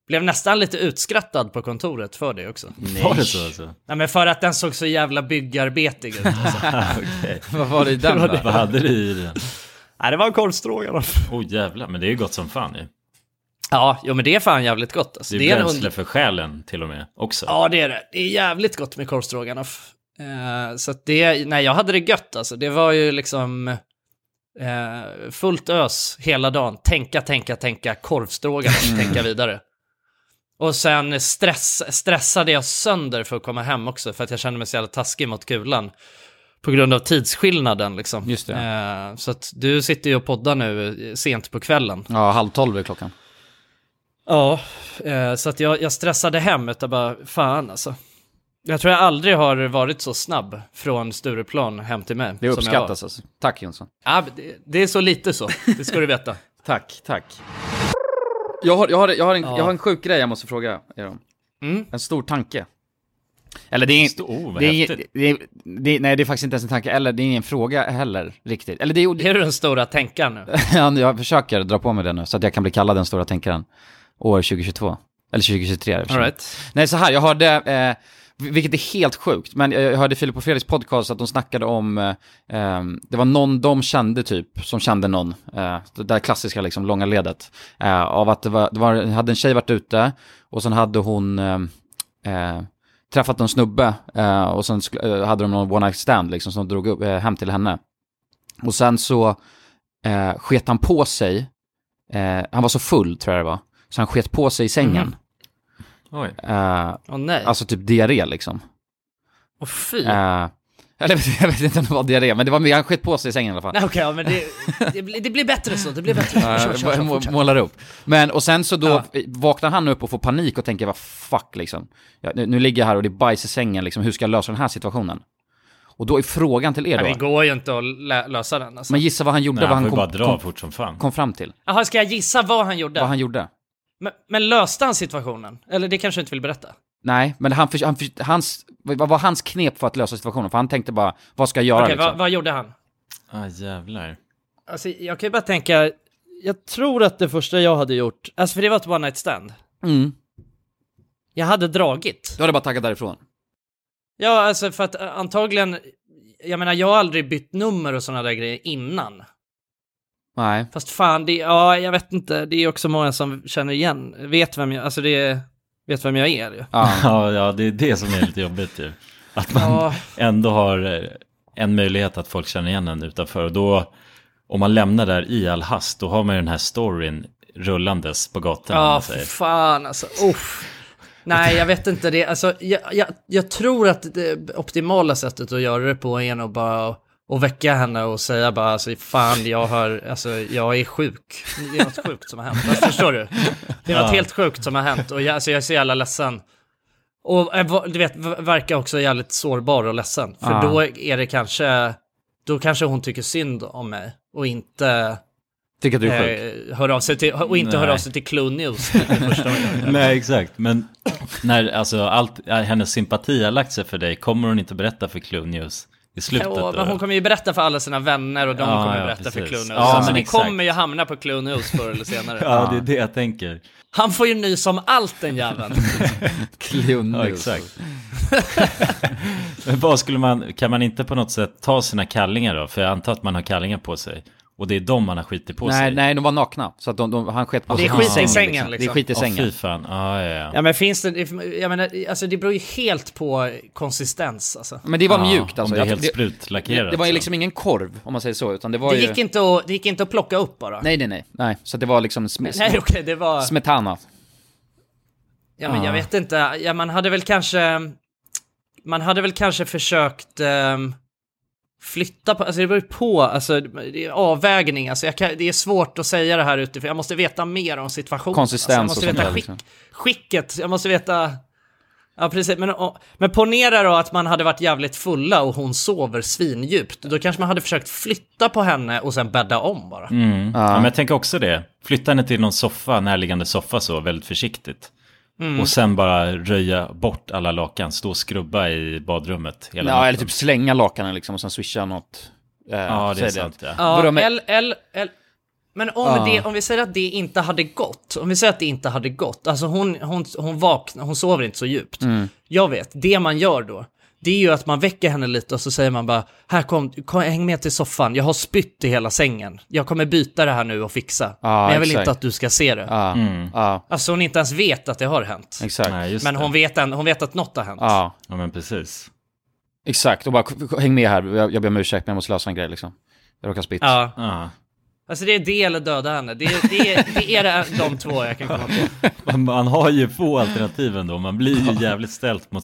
Speaker 4: blev nästan lite utskrattad på kontoret för det också.
Speaker 3: ju. Var det så alltså?
Speaker 4: eh, Nej men för att den såg så jävla byggarbetig ut. Alltså.
Speaker 3: Okej.
Speaker 1: Vad var det i den då?
Speaker 3: Vad hade du i den?
Speaker 4: Nej det var en korvstroganoff.
Speaker 3: Åh jävlar, men det är ju gott som fan ju.
Speaker 4: Ja, jo men det är fan jävligt gott.
Speaker 3: Det
Speaker 4: Alltså.
Speaker 3: är,
Speaker 4: Det är en
Speaker 3: bränsle
Speaker 4: und-
Speaker 3: för själen till och med också.
Speaker 4: Ja det är det. Det är jävligt gott med korvstroganoff. Eh, så att det, nej jag hade det gött alltså. Det var ju liksom eh, fullt ös hela dagen. Tänka, tänka, tänka, korvstroganoff,
Speaker 1: Mm.
Speaker 4: tänka vidare. Och sen stress, stressade jag sönder för att komma hem också, för att jag kände mig så jävla taskig mot kulan. På grund av tidsskillnaden liksom.
Speaker 1: Just det.
Speaker 4: Eh, så att du sitter ju och poddar nu eh, sent på kvällen.
Speaker 1: Ja, halv tolv är klockan.
Speaker 4: Ja, eh, så att jag, jag stressade hem utan bara, fan alltså. Jag tror jag aldrig har varit så snabb från Stureplan hem till mig.
Speaker 1: Det
Speaker 4: som jag var.
Speaker 1: uppskattas alltså. Tack Jonsson.
Speaker 4: Ja, men det, det är så lite så, det ska du veta.
Speaker 1: Tack, tack. Jag har, jag har, jag har, en, jag har en sjuk grej jag måste fråga er om.
Speaker 4: Mm.
Speaker 1: En stor tanke. Eller det är inte...
Speaker 3: Stor- Oh, vad
Speaker 1: Det är,
Speaker 3: häftigt.
Speaker 1: det, är, det är, nej, det är faktiskt inte ens en tanke, eller det är ingen fråga heller riktigt. Eller det är,
Speaker 4: Det är den stora tänkaren nu.
Speaker 1: Ja, jag försöker dra på mig det nu så att jag kan bli kallad den stora tänkaren år 2022. Eller 2023. i och för
Speaker 4: All
Speaker 1: sig.
Speaker 4: right.
Speaker 1: Nej, så här, jag hörde, eh, vilket är helt sjukt, men jag jag hörde Filip och Fredriks podcast att de snackade om, eh, eh, det var någon de kände typ, som kände någon, eh, det där klassiska liksom, långa ledet, eh, av att det var, det var, hade en tjej varit ute och sen hade hon eh, eh, träffat en snubbe eh, och sen sk- eh, hade de någon one night stand liksom som drog upp, eh, hem till henne. Och sen så eh, sket han på sig, eh, han var så full tror jag det var, så han sket på sig i sängen.
Speaker 3: Oj.
Speaker 1: Eh,
Speaker 4: Åh nej,
Speaker 1: Alltså typ diarré liksom.
Speaker 4: åh fy.
Speaker 1: Eh, eller jag vet inte om det var diarré, men det var, han skett på sig i sängen i alla fall.
Speaker 4: Nej okej, ja, men det, det, blir, det blir bättre så, det blir bättre. Kör, kör, kör,
Speaker 1: Eh, må-
Speaker 4: fortsätt.
Speaker 1: målar upp. Men och sen så då
Speaker 4: Ja.
Speaker 1: vaknar han upp och får panik och tänker vad fuck liksom. Ja, nu, nu ligger jag här och det är bajs i sängen liksom, hur ska jag lösa den här situationen? Och då är frågan till er
Speaker 4: Nej,
Speaker 1: då.
Speaker 4: det går ju inte att lä- lösa den alltså.
Speaker 1: men gissa vad han gjorde,
Speaker 3: Nej,
Speaker 1: vad
Speaker 3: han får
Speaker 1: han
Speaker 3: ju bara
Speaker 1: kom,
Speaker 3: dra
Speaker 1: kom,
Speaker 3: fort som fan.
Speaker 1: kom fram till.
Speaker 4: Jaha, ska jag gissa vad han gjorde?
Speaker 1: Vad han gjorde.
Speaker 4: Men, men löste han situationen? Eller det kanske du inte vill berätta?
Speaker 1: Nej, men han, för, han för, hans, vad var hans knep för att lösa situationen? För han tänkte bara, vad ska jag göra
Speaker 4: Okej,
Speaker 1: liksom?
Speaker 4: vad, vad gjorde han?
Speaker 3: Ah, jävlar.
Speaker 4: Alltså, jag kan ju bara tänka, jag tror att det första jag hade gjort, alltså för det var ett one night stand.
Speaker 1: Mm.
Speaker 4: Jag hade dragit.
Speaker 1: Då hade jag bara taggat därifrån.
Speaker 4: Ja, alltså för att eh, antagligen, jag menar jag har aldrig bytt nummer och sådana där grejer innan.
Speaker 1: Nej.
Speaker 4: Fast fan, det, ja jag vet inte, det är också många som känner igen, vet vem jag, alltså det, vet vem jag är ju.
Speaker 1: Ja.
Speaker 3: Ja, ja, det är det som är lite jobbigt ju. Att man
Speaker 4: Ja.
Speaker 3: ändå har eh, en möjlighet att folk känner igen en utanför. Och då, om man lämnar där i all hast, då har man ju den här storyn rullandes på gatan. om
Speaker 4: Ja,
Speaker 3: man
Speaker 4: Ah, för
Speaker 3: säger.
Speaker 4: fan alltså. Uff. Nej, jag vet inte det. Alltså, jag, jag, jag tror att det optimala sättet att göra det på är nog bara att
Speaker 7: och väcka henne och säga bara alltså fan jag har, alltså jag är sjuk. Det är något sjukt som har hänt. Alltså, förstår du? Det är något helt sjukt som har hänt och jag, alltså, jag är så jävla ledsen. Och eh, va- du vet, v- verkar också jävligt sårbar och ledsen. För
Speaker 1: Ja.
Speaker 7: då är det kanske, då kanske hon tycker synd om mig och inte
Speaker 1: Tycker att du är sjuk?
Speaker 7: eh, hör av sig till, och inte hör
Speaker 3: Nej.
Speaker 7: av sig till Clue News. Det första jag gör.
Speaker 3: Nej, exakt. Men när alltså, allt, äh, hennes sympati har lagt sig för dig, kommer hon inte berätta för Clue News i slutet?
Speaker 7: Jo,
Speaker 3: då?
Speaker 7: men hon kommer ju berätta för alla sina vänner och de
Speaker 3: Ja,
Speaker 7: kommer
Speaker 3: ja,
Speaker 7: berätta för
Speaker 3: precis.
Speaker 7: Clue News.
Speaker 3: Ja,
Speaker 7: Ja, så
Speaker 3: men
Speaker 7: ni
Speaker 3: exakt.
Speaker 7: kommer ju hamna på Clue News förr eller senare.
Speaker 3: Ja, det är det jag tänker.
Speaker 7: Han får ju ny som allt den jäveln.
Speaker 1: Klunnig.
Speaker 3: Ja, exakt. Men vad skulle man, kan man inte på något sätt ta sina kallingar då? För jag antar att man har kallingar på sig. Och det är de man har skitit på sig.
Speaker 1: Nej, nej, de var nakna. Så att de, de, han sket på
Speaker 7: Det är
Speaker 1: sig.
Speaker 7: skit i sängen, liksom.
Speaker 1: Det är skit i
Speaker 3: Ja, fy
Speaker 1: sängen.
Speaker 3: fan. Ja, ja, ja.
Speaker 7: Ja men finns det, jag menar, alltså det beror ju helt på konsistens alltså.
Speaker 1: Men det var
Speaker 3: Ja,
Speaker 1: mjukt alltså.
Speaker 3: Om det är
Speaker 1: Jag-
Speaker 3: helt
Speaker 1: det,
Speaker 3: sprutlackerat.
Speaker 1: det var ju
Speaker 3: så.
Speaker 1: liksom ingen korv, om man säger så, utan det var
Speaker 7: Det
Speaker 1: ju...
Speaker 7: gick inte att, det gick inte att plocka upp bara.
Speaker 1: Nej, nej, nej. Nej, så att det var liksom sm-
Speaker 7: Nej okej, det var...
Speaker 1: smetana.
Speaker 7: Ja men jag vet inte, ja, man hade väl kanske... Man hade väl kanske försökt ehm, flytta på, alltså det beror ju på, alltså det är avvägning, alltså jag kan, det är svårt att säga det här utifrån, jag måste veta mer om situationen.
Speaker 1: Konsistens
Speaker 7: alltså,
Speaker 1: och
Speaker 7: jag
Speaker 1: sånt
Speaker 7: måste
Speaker 1: där,
Speaker 7: veta skick,
Speaker 1: liksom.
Speaker 7: skicket, jag måste veta... Ja precis, men, och, men ponera då att man hade varit jävligt fulla och hon sover svindjupt, då kanske man hade försökt flytta på henne och sen bädda om bara.
Speaker 3: Mm. Ja, men jag tänker också det. Flytta henne till någon soffa, närliggande soffa så, väldigt försiktigt.
Speaker 1: Mm.
Speaker 3: Och sen bara röja bort alla lakan, stå och skrubba i badrummet hela
Speaker 1: Ja,
Speaker 3: natten.
Speaker 1: eller typ slänga lakanen liksom och sen swisha något. Eh,
Speaker 3: Ja, det är
Speaker 1: säg
Speaker 3: sant. Ja.
Speaker 7: Ja,
Speaker 1: Vadå, men- Ah.
Speaker 7: el, el, el. Men om, det, om vi säger att det inte hade gått, om vi säger att det inte hade gått, alltså hon, hon, hon vaknar, hon sover inte så djupt.
Speaker 1: Mm.
Speaker 7: Jag vet, det man gör då, det är ju att man väcker henne lite och så säger man bara, här kom, kom häng med till soffan, jag har spytt i hela sängen, jag kommer byta det här nu och fixa,
Speaker 1: Ja,
Speaker 7: men jag vill
Speaker 1: Ah, exakt. Ah.
Speaker 7: inte att du ska se det.
Speaker 1: Ja, ja,
Speaker 7: Alltså hon inte ens vet att det har hänt.
Speaker 1: exakt.
Speaker 3: Nej, just
Speaker 7: Men
Speaker 3: det.
Speaker 7: hon vet, en, hon vet att något har hänt.
Speaker 1: Ja,
Speaker 3: Ja, men precis.
Speaker 1: exakt. Och bara k- k- häng med här, jag, jag ber om ursäkt men jag måste lösa en grej liksom. Jag råkar spytt.
Speaker 7: Ja.
Speaker 3: Ja.
Speaker 7: Alltså det är det eller döda henne, det är, det är, det är det, de två jag kan komma på.
Speaker 3: Man, man har ju få alternativ ändå. Man blir ju jävligt ställt mot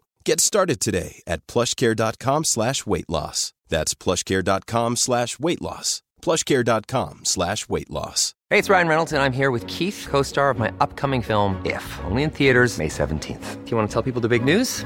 Speaker 5: Get started today at plushcare.com slash weight loss. That's plushcare.com slash weight loss. plushcare.com slash weight loss.
Speaker 10: Hey, it's Ryan Reynolds, and I'm here with Keith, co star of my upcoming film, If, only in theaters, May 17th. Do you want to tell people the big news?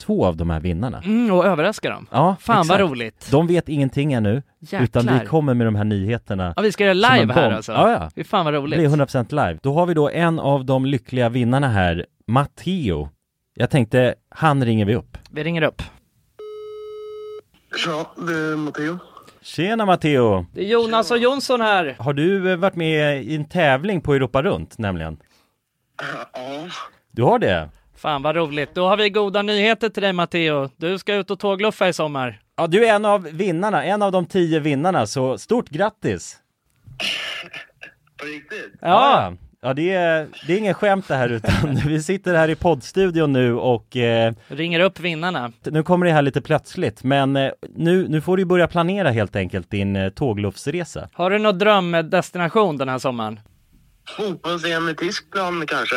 Speaker 11: två av de här vinnarna.
Speaker 7: Mm, och överraska dem.
Speaker 11: Ja,
Speaker 7: Fan vad
Speaker 11: exakt.
Speaker 7: roligt.
Speaker 11: De vet ingenting ännu,
Speaker 7: Jäklar.
Speaker 11: utan vi kommer med de här nyheterna
Speaker 7: Ja, vi ska göra
Speaker 11: som en
Speaker 7: live här
Speaker 11: bomb.
Speaker 7: alltså.
Speaker 11: Ja, ja.
Speaker 7: Fy fan vad
Speaker 11: Det blir
Speaker 7: roligt.
Speaker 11: 100% live. Då har vi då en av de lyckliga vinnarna här, Matteo. Jag tänkte, han ringer vi upp.
Speaker 7: Vi ringer upp.
Speaker 4: Ja, det är Matteo.
Speaker 11: Tjena Matteo!
Speaker 7: Det är Jonas och Jonsson här.
Speaker 11: Har du eh, varit med i en tävling på Europa runt nämligen?
Speaker 4: Ja.
Speaker 11: Du har det?
Speaker 7: Fan vad roligt. Då har vi goda nyheter till dig Matteo. Du ska ut och tågluffa i sommar.
Speaker 11: Ja, du är en av vinnarna, en av de tio vinnarna, så stort grattis! På riktigt? Ja! Ja, det är, det är ingen skämt det här utan vi sitter här i poddstudion nu och eh,
Speaker 4: Ringer upp vinnarna.
Speaker 11: nu kommer det här lite plötsligt men eh, nu, nu får du ju börja planera helt enkelt din eh, tågluffsresa.
Speaker 4: Har du någon drömdestination den här sommaren?
Speaker 7: Fotbolls-EM i Tyskland kanske?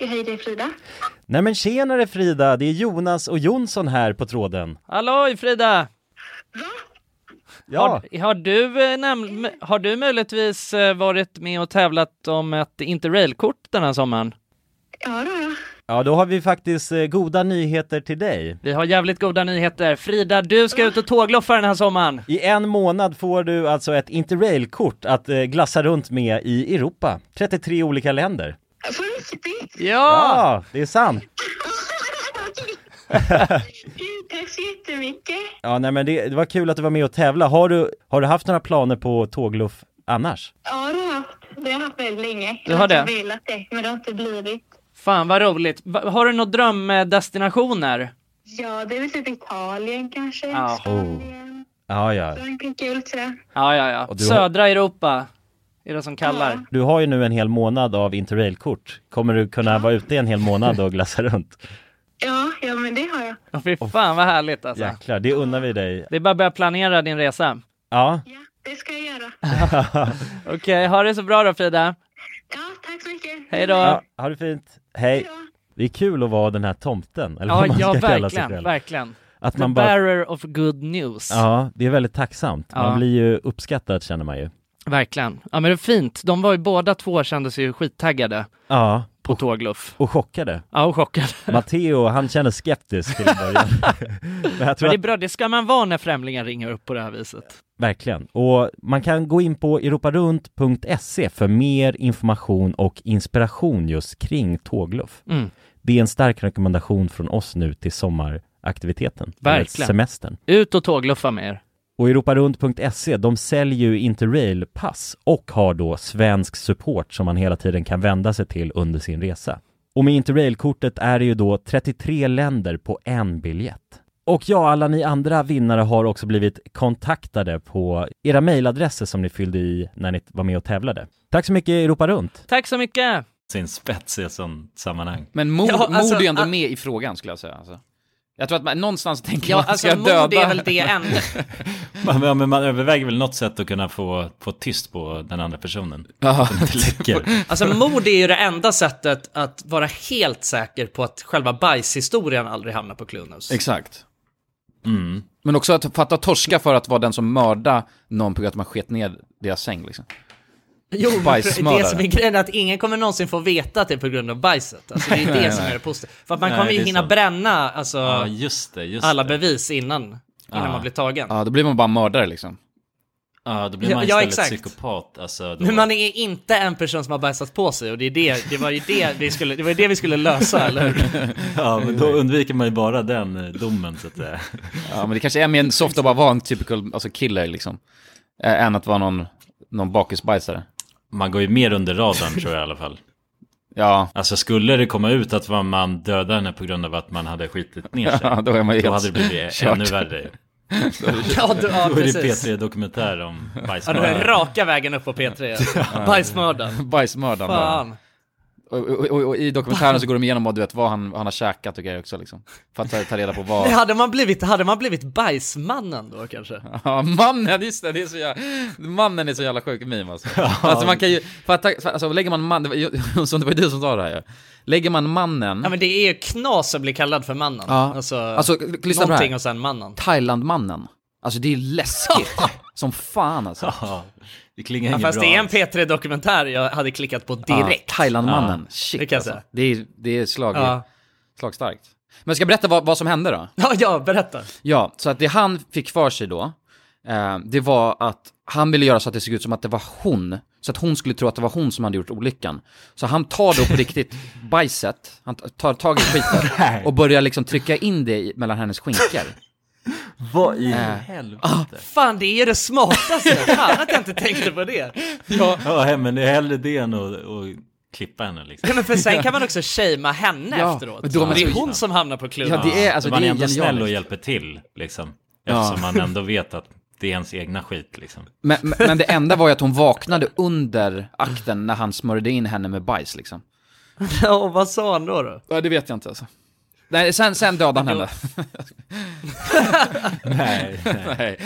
Speaker 12: Hej, det är Frida.
Speaker 11: Nej men tjenare Frida, det är Jonas och Jonsson här på tråden.
Speaker 4: Halloj Frida!
Speaker 11: Ja,
Speaker 4: Har, har, du, eh, näm- m- har du möjligtvis eh, varit med och tävlat om ett interrailkort den här sommaren?
Speaker 11: ja då har vi faktiskt eh, goda nyheter till dig.
Speaker 4: Vi har jävligt goda nyheter. Frida, du ska ut och tågloffa den här sommaren!
Speaker 11: I en månad får du alltså ett interrailkort att eh, glassa runt med i Europa. 33 olika länder.
Speaker 4: Ja!
Speaker 11: Ja, det är sant.
Speaker 12: Tack så jättemycket.
Speaker 11: Ja, nej men det, det var kul att du var med och tävla. Har du, har du haft några planer på tågluff annars?
Speaker 12: Ja, det har jag haft. Det har jag haft väldigt länge.
Speaker 4: Du har det?
Speaker 12: Jag har velat det, men det har inte blivit.
Speaker 4: Fan vad roligt. Va- Har du några drömdestinationer?
Speaker 12: Ja, det är väl typ Italien kanske.
Speaker 4: Ja.
Speaker 11: Oh. Ja, ja.
Speaker 12: Frankrike och lite sådär.
Speaker 4: Ja, ja, ja.
Speaker 11: Och du har-
Speaker 4: Södra Europa är det som kallar.
Speaker 11: Du har ju nu en hel månad av interrailkort. Kommer du kunna vara ute en hel månad och glassa runt?
Speaker 12: Ja, ja, men det har jag.
Speaker 4: Åh, Fy fan vad härligt alltså.
Speaker 11: Jäklar, det unnar vi dig.
Speaker 4: Det är bara att börja planera din resa.
Speaker 11: Ja.
Speaker 12: Det ska jag göra.
Speaker 4: Okej, ha det så bra då Frida.
Speaker 12: Ja, tack så mycket.
Speaker 4: Hej då.
Speaker 11: ja, ha det fint. Hej. Det är kul att vara den här tomten, eller
Speaker 4: Ja,
Speaker 11: vad man ska
Speaker 4: ja
Speaker 11: kalla sig
Speaker 4: verkligen,
Speaker 11: själv.
Speaker 4: verkligen.
Speaker 11: Att
Speaker 4: The
Speaker 11: man bara-
Speaker 4: bearer of good news.
Speaker 11: Ja, det är väldigt tacksamt. Man
Speaker 4: Ja.
Speaker 11: blir ju uppskattad känner man ju.
Speaker 4: Verkligen. Ja men det är fint. De var ju båda två kände sig ju skittaggade
Speaker 11: Ja,
Speaker 4: på tågluff.
Speaker 11: och chockade.
Speaker 4: Ja, och chockade.
Speaker 11: Matteo, han känner skeptisk till en början. Men jag tror
Speaker 4: Men det är
Speaker 11: att,
Speaker 4: bra, det ska man vara när främlingar ringer upp på det här viset.
Speaker 11: verkligen. Och man kan gå in på europarunt.se E för mer information och inspiration just kring tågluff.
Speaker 4: Mm.
Speaker 11: Det är en stark rekommendation från oss nu till sommaraktiviteten. eller
Speaker 4: Verkligen.
Speaker 11: Semestern.
Speaker 4: Ut och tågluffa med er.
Speaker 11: Och europarunt.se, E, de säljer ju Interrail-pass och har då svensk support som man hela tiden kan vända sig till under sin resa. Och med Interrail-kortet är det ju då 33 länder på en biljett. Och ja, alla ni andra vinnare har också blivit kontaktade på era mejladresser som ni fyllde i när ni var med och tävlade. Tack så mycket Europa Runt!
Speaker 4: Tack så mycket!
Speaker 3: Sin spets i ett sånt sammanhang.
Speaker 1: Men mod,
Speaker 4: Ja, alltså,
Speaker 1: mod är ju ändå
Speaker 4: ah-
Speaker 1: med i frågan skulle jag säga. Alltså. Jag tror att man någonstans tänker
Speaker 4: Ja,
Speaker 1: man,
Speaker 4: alltså,
Speaker 1: ska jag
Speaker 4: mod
Speaker 1: döda?
Speaker 4: är väl det ändå.
Speaker 3: Man, ja, men man överväger väl något sätt att kunna få, få tyst på den andra personen.
Speaker 1: Ja.
Speaker 3: Så den inte läcker.
Speaker 4: Alltså mod är ju det enda sättet att vara helt säker på att själva bajshistorien aldrig hamnar på Clunus.
Speaker 1: Exakt. Mm. Men också att fatta torska för att vara den som mördar någon på grund av att man sket ner deras säng liksom.
Speaker 4: Jo, men det
Speaker 1: Bajsmördare.
Speaker 4: som är grejen är att ingen kommer någonsin få veta att det är på grund av bajset. Alltså, det är
Speaker 1: Nej,
Speaker 4: det som
Speaker 1: nej.
Speaker 4: är det positiva. För att man
Speaker 1: Nej,
Speaker 4: kommer
Speaker 1: det
Speaker 4: ju
Speaker 1: är
Speaker 4: hinna
Speaker 1: sant.
Speaker 4: bränna alltså,
Speaker 3: Ja, just det, just
Speaker 4: alla
Speaker 3: det.
Speaker 4: bevis innan, innan
Speaker 3: Ja.
Speaker 4: man blir tagen.
Speaker 1: Ja, då blir man bara mördare liksom.
Speaker 3: Ja, då blir
Speaker 4: Ja,
Speaker 3: man
Speaker 4: ja,
Speaker 3: istället
Speaker 4: exakt.
Speaker 3: psykopat. Alltså, då...
Speaker 4: Men man är inte en person som har bajsat på sig och det, är det, det var ju det vi skulle, det var ju det vi skulle lösa, eller hur?
Speaker 3: Ja, men då undviker man ju bara den eh, domen så att säga.
Speaker 1: Ja, men det kanske är mer en soft att bara vara en typical alltså, killer liksom. Äh, än att vara någon, någon bakisbajsare.
Speaker 3: Man går ju mer under radarn tror jag i alla fall.
Speaker 1: Ja.
Speaker 3: Alltså skulle det komma ut att man- man dödade henne på grund av att man hade skitit ner sig.
Speaker 1: Ja, då är man ju
Speaker 3: då
Speaker 1: helt
Speaker 3: hade det blivit
Speaker 1: kört.
Speaker 3: ännu värre.
Speaker 4: Ja, då- ja,
Speaker 3: då är det
Speaker 4: precis.
Speaker 3: P3-dokumentär om
Speaker 4: Ja, då är det
Speaker 3: bajsmördaren.
Speaker 4: raka vägen upp på P3. Bajsmördaren.
Speaker 1: Bajsmördaren bara.
Speaker 4: Fan.
Speaker 1: Och, och, och, och i dokumentären så går de igenom vad, du vet, vad han, han har käkat och grejer också liksom. För att ta, ta reda på vad...
Speaker 4: Nej, hade, man blivit, hade man blivit bajsmannen då kanske?
Speaker 1: Ja, mannen, just det, det är så jävla, mannen är så jävla sjuk meme alltså. Alltså man kan ju, för att, för, alltså lägger man man, det var, Jonsson, det var ju du som sa det här ju. Lägger man mannen,
Speaker 4: Ja men det är ju knas att bli kallad för mannen.
Speaker 1: Ja.
Speaker 4: Alltså,
Speaker 1: Alltså, lyssna på det här.
Speaker 4: någonting och sen mannen.
Speaker 1: Thailandmannen, alltså det är läskigt som fan alltså.
Speaker 3: Ja, det klingar
Speaker 4: Ja,
Speaker 3: inget
Speaker 4: fast
Speaker 3: bra.
Speaker 4: det är en P3-dokumentär jag hade klickat på
Speaker 1: Ja,
Speaker 4: direkt.
Speaker 1: Thailandmannen,
Speaker 4: Ja.
Speaker 1: shit
Speaker 4: Det kan jag
Speaker 1: alltså.
Speaker 4: säga.
Speaker 1: Det är, det är slag,
Speaker 4: Ja.
Speaker 1: slagstarkt. Men jag ska berätta vad, vad som hände då.
Speaker 4: Ja, ja, berätta.
Speaker 1: Ja, så att det han fick för sig då eh, det var att han ville göra så att det såg ut som att det var hon. Så att hon skulle tro att det var hon som hade gjort olyckan. Så han tar då på riktigt bajset, han tar tag i skiten och börjar liksom trycka in det i, mellan hennes skinkor.
Speaker 2: Vad i
Speaker 1: Eh,
Speaker 2: helvete?
Speaker 4: Fan, det är ju det smartaste. Fan att jag inte tänkte på det.
Speaker 3: Ja, ja men det är hellre det än att, att klippa henne liksom.
Speaker 4: Nej, men för sen kan man också shamea henne
Speaker 1: Ja,
Speaker 4: efteråt.
Speaker 1: men då man
Speaker 4: det är
Speaker 1: ska-
Speaker 4: hon som hamnar på klubben.
Speaker 1: Ja, det är- alltså,
Speaker 3: man
Speaker 1: det är
Speaker 3: är ändå snäll
Speaker 1: genialiskt.
Speaker 3: och hjälper till liksom.
Speaker 1: Ja.
Speaker 3: Eftersom man ändå vet att det är ens egna skit liksom.
Speaker 1: Men, men- men det enda var ju att hon vaknade under akten när han smörjde in henne med bajs liksom.
Speaker 4: Ja, och vad sa han då? då?
Speaker 1: Ja, det vet jag inte alltså. Nej, sen, sen dödade han henne.
Speaker 3: nej, nej.
Speaker 1: nej.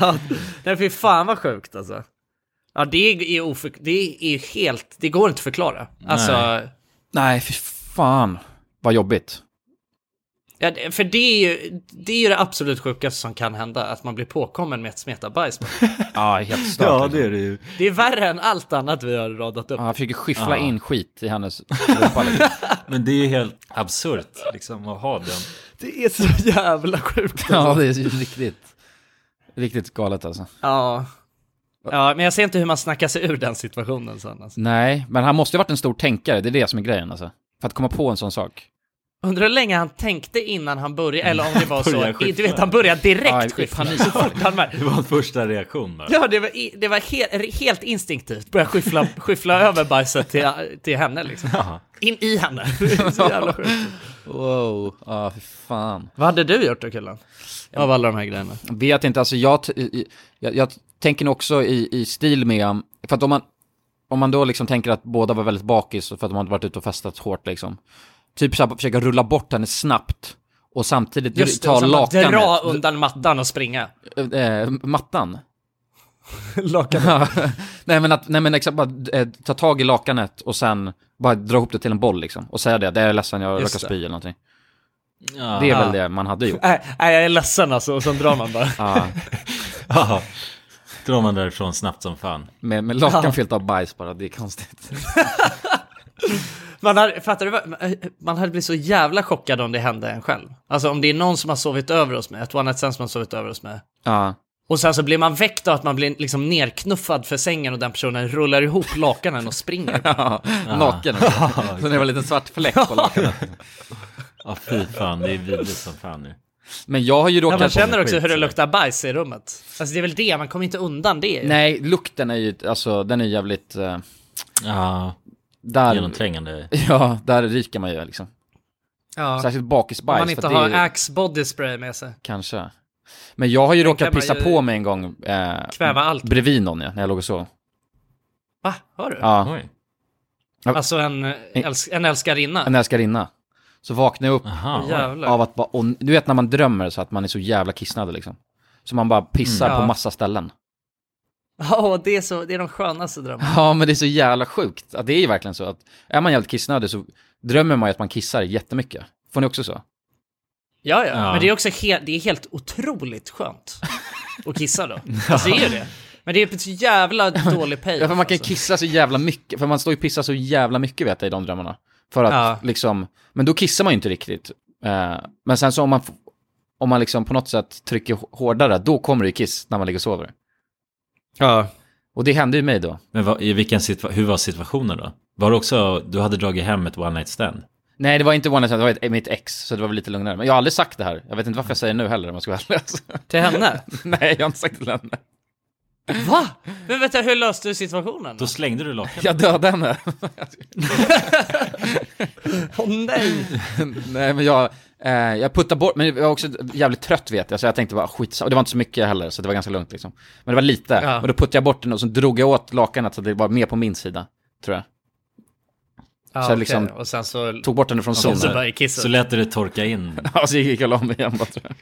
Speaker 4: Ja, nej, fy fan vad sjukt alltså. Ja, det är, oför... det är helt... Det går inte att förklara. Alltså...
Speaker 1: Nej, fy fan. Vad jobbigt.
Speaker 4: Ja, det- för det är, ju, det är ju det absolut sjukaste som kan hända, att man blir påkommen med ett smetabajs.
Speaker 1: Ja, helt stört.
Speaker 3: Ja,
Speaker 1: liksom.
Speaker 3: det är det ju.
Speaker 4: Det är värre än allt annat vi har radat upp.
Speaker 1: Ja, han fick ju skyffla
Speaker 3: Ja.
Speaker 1: in skit i hennes rumpa liksom.
Speaker 3: Men det är ju helt absurt liksom att ha den.
Speaker 4: Det är så jävla sjukt.
Speaker 1: Ja,
Speaker 4: alltså.
Speaker 1: det är ju riktigt, riktigt galet alltså.
Speaker 4: ja. ja, men jag ser inte hur man snackar sig ur den situationen sen. Alltså.
Speaker 1: Nej, men han måste ju ha varit en stor tänkare, det är det som är grejen alltså. För att komma på en sån sak.
Speaker 4: Undrar hur länge han tänkte innan han började, eller om det var så,
Speaker 3: Började
Speaker 4: i, du
Speaker 3: skyffla.
Speaker 4: vet han började
Speaker 1: Ja, i-
Speaker 4: direkt
Speaker 1: i
Speaker 4: skyffla.
Speaker 1: panik.
Speaker 4: Så fort han mär-
Speaker 3: Det var en första reaktion bara.
Speaker 4: Ja, det var, i- det var helt, helt instinktivt, började skyffla, skyffla över bajset till, till henne liksom.
Speaker 3: Ja.
Speaker 4: In i henne. så jävla sjukt.
Speaker 1: Wow, ja fy fan.
Speaker 4: Vad hade du gjort då Kullan? Av alla de här grejerna?
Speaker 1: Vet inte, alltså jag, t- i- i- jag, jag tänker nog också i, i stil med, för att om man, om man då liksom tänker att båda var väldigt bakis för att de hade varit ute och festat hårt liksom. Typ så här, försöka rulla bort henne snabbt och samtidigt
Speaker 4: Just det,
Speaker 1: ta
Speaker 4: och sen bara
Speaker 1: lakanet.
Speaker 4: dra undan mattan och springa.
Speaker 1: eh, mattan.
Speaker 4: Lakanet.
Speaker 1: nej men att, nej men exakt, bara eh, ta tag i lakanet och sen bara dra ihop det till en boll liksom. Och säga det, det är jag ledsen, jag
Speaker 4: Just
Speaker 1: råkar
Speaker 4: det.
Speaker 1: spy eller någonting.
Speaker 3: Ja.
Speaker 1: Det är väl det man hade gjort.
Speaker 4: Nej, nej, Äh, jag är ledsen alltså, och sen drar man bara.
Speaker 1: Ja,
Speaker 3: Ja. Drar man därifrån snabbt som fan.
Speaker 1: med, med lakan fyllt av bajs bara, det är konstigt.
Speaker 4: Man hade, fattar du vad? Man hade blivit så jävla chockad om det hände en själv. Alltså om det är någon som har sovit över oss med, ett one night stand som har sovit över oss med.
Speaker 1: Ja.
Speaker 4: Och sen så blir man väckt av att man blir liksom nerknuffad för sängen och den personen rullar ihop lakanen och springer.
Speaker 1: Ja, naken. Så det var en liten svart fläck på lakanet.
Speaker 3: Ja, fy fan, det är vidrigt som fan nu.
Speaker 1: Men jag har ju
Speaker 4: Ja,
Speaker 1: råkat...
Speaker 4: man känner också
Speaker 3: skit,
Speaker 4: hur det
Speaker 3: så.
Speaker 4: luktar bajs i rummet. Alltså det är väl det, man kommer inte undan det. ju.
Speaker 1: Nej, lukten är ju, alltså den är jävligt... eh,
Speaker 3: Ja,
Speaker 1: där...
Speaker 3: genomträngande.
Speaker 1: Ja, där ryker man ju liksom.
Speaker 4: Ja.
Speaker 1: Särskilt
Speaker 4: Om
Speaker 1: bakisbajs.
Speaker 4: man
Speaker 1: för
Speaker 4: inte
Speaker 1: att det
Speaker 4: har
Speaker 1: är ju-
Speaker 4: Axe body spray med sig.
Speaker 1: Kanske. Men jag har ju råkat
Speaker 4: kan man
Speaker 1: pissa
Speaker 4: ju-
Speaker 1: på mig en gång. Eh,
Speaker 4: Kväva allt.
Speaker 1: Bredvid någon ja, när jag låg och sov.
Speaker 4: Va? Har du?
Speaker 1: Ja,
Speaker 3: Oj.
Speaker 4: Alltså en, eh, äls- en älskarinna?
Speaker 1: en älskarinna. Så vaknade jag upp
Speaker 3: Aha.
Speaker 4: Jävlar.
Speaker 1: av att bara, och, du vet när man drömmer så att man är så jävla kissnödig liksom. Så man bara pissar
Speaker 4: Mm.
Speaker 1: på
Speaker 4: Ja.
Speaker 1: massa ställen.
Speaker 4: Ja, det, är så, det är de skönaste drömmarna.
Speaker 1: Ja, men det är så jävla sjukt. Ja, det är ju verkligen så att är man jävligt kissnödig så drömmer man ju att man kissar jättemycket. Får ni också så?
Speaker 4: Ja, ja,
Speaker 3: Ja.
Speaker 4: men det är också helt, det är helt otroligt skönt att kissa då. Alltså det är ju det. Men det är ett så jävla dålig pay.
Speaker 1: Ja, för man kan
Speaker 4: alltså.
Speaker 1: kissa så jävla mycket, för man står ju och pissar så jävla mycket vet jag i de drömmarna. För att
Speaker 4: Ja.
Speaker 1: liksom, men då kissar man ju inte riktigt. Eh, men sen så om man, f- om man liksom på något sätt trycker h- hårdare, då kommer det ju kiss när man ligger och sover.
Speaker 4: Ja.
Speaker 1: Och det hände ju mig då.
Speaker 3: Men vad, i vilken situa- hur var situationen då? Var det också, du hade dragit hem ett one night stand?
Speaker 1: Nej, det var inte one night stand, det var ett, mitt ex, så det var väl lite lugnare. Men jag har aldrig sagt det här. Jag vet inte varför jag säger det nu heller om jag ska vara ärlig. alltså.
Speaker 4: Till henne?
Speaker 1: Nej, jag har inte sagt det till henne.
Speaker 4: Va? Men vänta, hur löste du situationen?
Speaker 3: Då slängde du lakanet.
Speaker 1: Jag dödade henne.
Speaker 4: Åh nej!
Speaker 1: Nej men jag, eh, jag puttade bort, men jag var också jävligt trött vet jag, så jag tänkte bara skitsamma, och det var inte så mycket heller, så det var ganska lugnt liksom. Men det var lite,
Speaker 4: Ja.
Speaker 1: och då puttade jag bort den och så drog jag åt lakanet så det var mer på min sida, tror jag.
Speaker 4: Ja,
Speaker 1: Så jag liksom-
Speaker 4: okej, Och sen så...
Speaker 1: Tog bort den från
Speaker 4: Sen så
Speaker 1: zonen.
Speaker 4: bara i kisset.
Speaker 3: Så lät du det torka in.
Speaker 1: Ja, så gick jag och la mig igen bara, tror jag.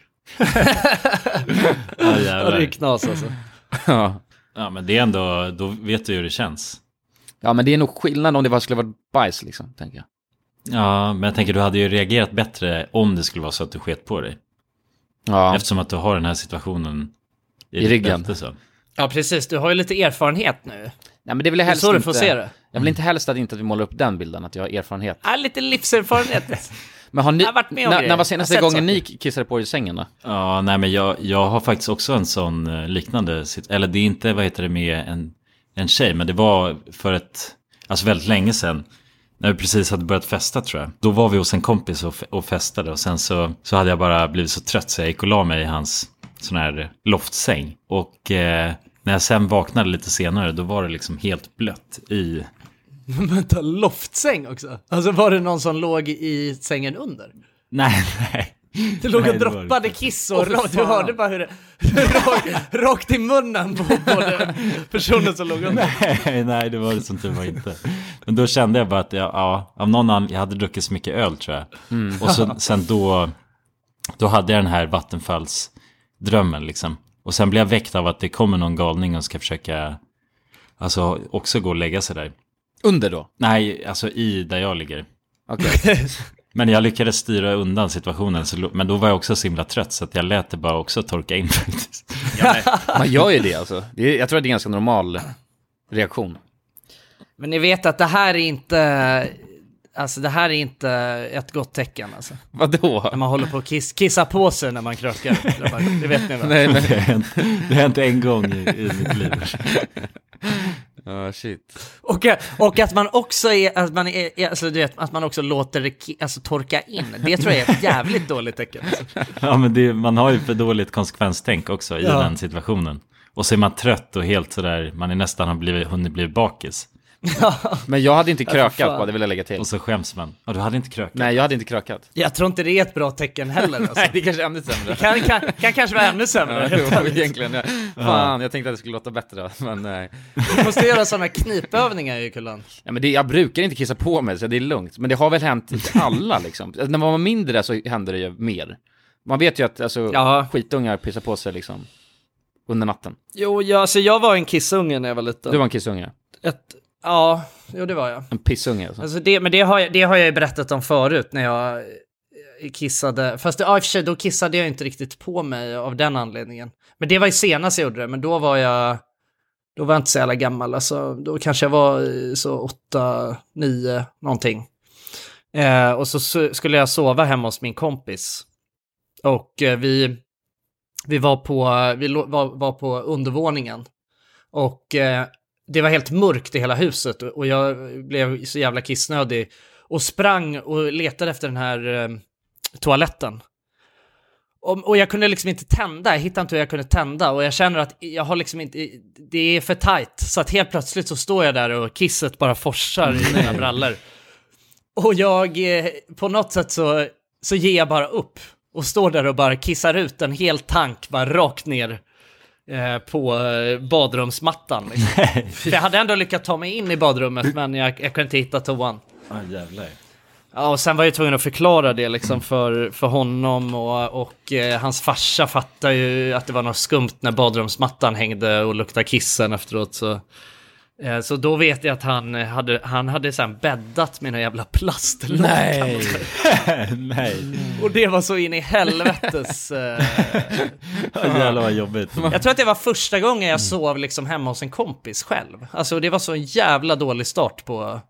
Speaker 3: Ja,
Speaker 4: Ja, det är ju
Speaker 3: jävlar.
Speaker 4: knas alltså.
Speaker 1: Ja.
Speaker 3: ja, men det är ändå, då vet du hur det känns.
Speaker 1: ja, men det är nog skillnad om det bara skulle vara bajs liksom, tänker jag.
Speaker 3: Ja, men jag tänker du hade ju reagerat bättre om det skulle vara så att du sket på dig.
Speaker 1: Ja,
Speaker 3: Eftersom att du har den här situationen i,
Speaker 1: I
Speaker 3: ditt
Speaker 1: ryggen.
Speaker 3: bälte, så.
Speaker 4: Ja, precis. Du har ju lite erfarenhet nu.
Speaker 1: nej men det vill jag
Speaker 4: Det är
Speaker 1: helst
Speaker 4: så du
Speaker 1: inte.
Speaker 4: får se det. Mm.
Speaker 1: Jag vill inte helst att inte att vi målar upp den bilden, att jag har erfarenhet.
Speaker 4: Ja, lite livserfarenhet.
Speaker 1: Men har ni,
Speaker 4: Jag har varit med om
Speaker 1: när,
Speaker 4: grejer.
Speaker 1: när var
Speaker 4: Jag
Speaker 1: senaste
Speaker 4: har sett
Speaker 1: gången ni kissade på er i sängen då?
Speaker 3: Ja, nej men jag, jag har faktiskt också en sån eh, liknande sit- Eller det är inte, vad heter det, med en, en tjej, men det var för ett, alltså väldigt länge sedan. När vi precis hade börjat festa tror jag. Då var vi hos en kompis och, fe- och festade och sen så, så hade jag bara blivit så trött så jag gick och la mig i hans sån här loftsäng. Och eh, när jag sen vaknade lite senare då var det liksom helt blött i...
Speaker 4: Men vänta, loftsäng också? Alltså var det någon som låg i sängen under?
Speaker 3: Nej, nej.
Speaker 4: Det låg och
Speaker 3: Nej, det var det
Speaker 4: droppade kiss och
Speaker 13: Åh, fy
Speaker 4: ra- du
Speaker 13: fan.
Speaker 4: hörde bara hur det... rakt, rakt i munnen på, på den personen som låg under.
Speaker 3: Nej, nej, det var det som tur var inte. Men då kände jag bara att jag, ja, av någon anledning, jag hade druckit så mycket öl tror jag.
Speaker 14: Mm.
Speaker 3: Och så, sen då, då hade jag den här vattenfallsdrömmen liksom. Och sen blev jag väckt av att det kommer någon galning och ska försöka, alltså också gå och lägga sig där.
Speaker 1: Under då?
Speaker 3: Nej, alltså i där jag ligger.
Speaker 1: Okej.
Speaker 3: Men jag lyckades styra undan situationen, så, lo- men då var jag också så himla trött så att jag lät det bara också torka in faktiskt.
Speaker 1: Man gör ju det alltså. Det är, jag tror att det är en ganska normal reaktion.
Speaker 4: Men ni vet att det här är inte... Alltså det här är inte ett gott tecken alltså.
Speaker 1: Vadå?
Speaker 4: När man håller på att kiss, kissa på sig när man krökar. grabbar. Det vet ni väl?
Speaker 3: Nej, men... det, har hänt, det har hänt en gång i, i mitt liv.
Speaker 1: Ja, shit.
Speaker 4: Och, och att man också är, att man är, är- alltså du vet, att man också låter det ki- alltså, torka in. Det tror jag är ett jävligt dåligt tecken. Alltså.
Speaker 3: Ja, men det, man har ju för dåligt konsekvenstänk också i
Speaker 4: Ja.
Speaker 3: den situationen. Och så är man trött och helt sådär, man är nästan har blivit, hunnit bli bakis.
Speaker 1: Men jag hade inte
Speaker 3: Ja,
Speaker 1: krökat,
Speaker 3: för fan.
Speaker 1: bara, det vill jag lägga till.
Speaker 3: Och så skäms man. Ja, du hade inte krökat.
Speaker 1: Nej, jag hade inte krökat.
Speaker 4: Jag tror inte det är ett bra tecken heller. Alltså.
Speaker 1: Nej, det kanske är ännu sämre.
Speaker 4: Det kan, kan, kan kanske vara ännu sämre.
Speaker 1: Ja,
Speaker 4: helt
Speaker 1: jo,
Speaker 4: ärligt.
Speaker 1: egentligen. Ja. Fan, jag tänkte att det skulle låta bättre, men nej.
Speaker 4: Du måste göra sådana knipövningar ju Kullan.
Speaker 1: Ja, men det, jag brukar inte kissa på mig, så det är lugnt. Men det har väl hänt till alla liksom. När man var mindre så hände det ju mer. Man vet ju att alltså, skitungar pissar på sig liksom under natten.
Speaker 4: Jo, jag, alltså jag var en kissunge när jag var liten.
Speaker 1: Du var en kissunge.
Speaker 4: Ett, ja, jo det var jag.
Speaker 1: En pissunge alltså.
Speaker 4: Alltså det, men det har, jag, det har jag ju berättat om förut när jag eh, kissade. Fast det, ja, i och för sig, då kissade jag inte riktigt på mig av den anledningen. Men det var ju senast jag gjorde det, men då var jag, då var jag inte så jävla gammal. Alltså, då kanske jag var i så åtta, nio, någonting. Eh, och så, så skulle jag sova hemma hos min kompis. Och eh, vi, vi, var, på, vi lo, var, var på undervåningen. Och eh, det var helt mörkt i hela huset och och jag blev så jävla kissnödig och sprang och letade efter den här eh, toaletten. Och, och jag kunde liksom inte tända, jag hittade inte hur jag kunde tända och jag känner att jag har liksom inte, det är för tajt. Så att helt plötsligt så står jag där och kisset bara forsar i mina brallor. Och jag, eh, på något sätt så, så ger jag bara upp och står där och bara kissar ut en hel tank bara rakt ner eh, på eh, badrumsmattan. Liksom. För jag hade ändå lyckats ta mig in i badrummet men jag, jag kunde inte hitta toan.
Speaker 3: Ja, Ah, jävlar.
Speaker 4: Ja, och sen var jag tvungen att förklara det liksom för, för honom och, och eh, hans farsa fattade ju att det var något skumt när badrumsmattan hängde och luktade kissen efteråt. Så, eh, så då vet jag att han eh, hade, han hade sen bäddat mina jävla plastlådor.
Speaker 3: Nej.
Speaker 4: Och det var så in i helvetes... Eh,
Speaker 3: Ja, jävlar vad jobbigt.
Speaker 4: jag tror att det var första gången jag sov liksom hemma hos en kompis själv. Alltså det var så en jävla dålig start på,